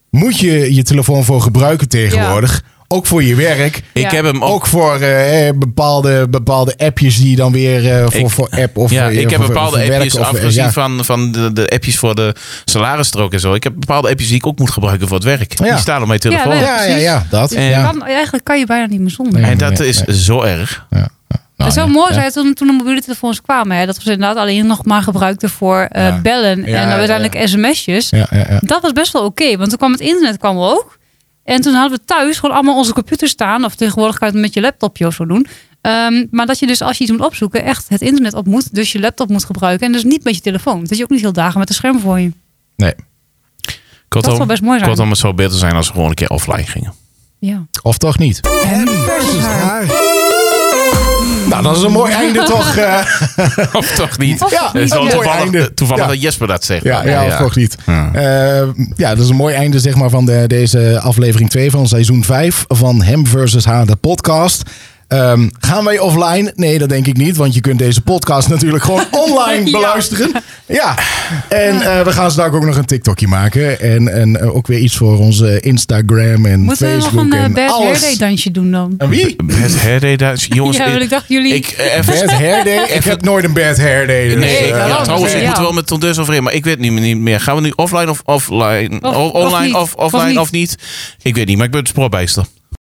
moet je je telefoon voor gebruiken tegenwoordig. Ook voor je werk.
ik
Ja.
heb hem ook...
Ook voor eh, eh, bepaalde, bepaalde appjes die dan weer eh, voor,
Ik-
voor app of
ja,
eh,
ik heb
voor-
bepaalde
voor werk
appjes,
of, eh,
afgezien
ja.
van, van de, de appjes voor de salarisstrook en zo. Ik heb bepaalde appjes die ik ook moet gebruiken voor het werk.
Ja.
Die staan op mijn telefoon.
wij-
Ja, ja, ja, dat.
Dus je
ja.
kan, eigenlijk kan je bijna niet meer zonder.
Nee.
En dat
Nee,
is
nee.
zo erg.
Ja, ja.
Het
ja,
zou mooi
ja.
zijn toen, toen de mobiele telefoons kwamen. Hè, dat we ze inderdaad alleen nog maar gebruikten voor eh,
Ja.
bellen en
ja,
uiteindelijk sms'jes.
Ja, ja, ja.
Dat was best wel oké, want toen kwam het internet kwam er ook. En toen hadden we thuis gewoon allemaal onze computer staan. Of tegenwoordig kan je het met je laptopje of zo doen. Ehm, maar dat je dus als je iets moet opzoeken, echt het internet op moet. Dus je laptop moet gebruiken. En dus niet met je telefoon. Dat je ook niet heel dagen met een scherm voor je.
Nee.
Dat zou best mooi zijn.
Kortom, het zou beter zijn als we gewoon een keer offline gingen.
Ja.
Of toch niet?
Hem versus haar.
Nou, dat is een mooi einde toch? eh.
of toch niet?
Of
ja,
Het is wel
een mooi
toevallig,
einde.
toevallig
Ja.
dat Jesper dat zegt.
Ja, ja, of toch niet.
Ja.
Eh, ja, dat is een mooi einde zeg maar, van de, deze aflevering 2 van seizoen 5 van Hem versus Haar, de podcast. Ehm, gaan wij offline? Nee, dat denk ik niet, want je kunt deze podcast natuurlijk gewoon online
Ja.
beluisteren. Ja, en eh, we gaan straks ook nog een TikTokje maken. En, en eh, ook weer iets voor onze Instagram en
Moeten we nog
Facebook
een eh,
en
Bad Hair
alles.
Day dansje doen dan?
En wie?
Het herdeduits. Jongens,
ja, want ik dacht jullie...
ik, eh, even-
Bad Hair Day? Ik heb nooit een Bad Hair Day. dus,
Nee,
ik
eh,
kan
ja,
ook
trouwens,
niet.
ik
Ja.
moet wel met Tondus over in, maar ik weet niet, niet meer. Gaan we nu offline of offline?
Of-
O-
of
online
niet.
of,
Of
offline
niet.
of niet. Ik weet niet, maar ik ben het spoorbijster.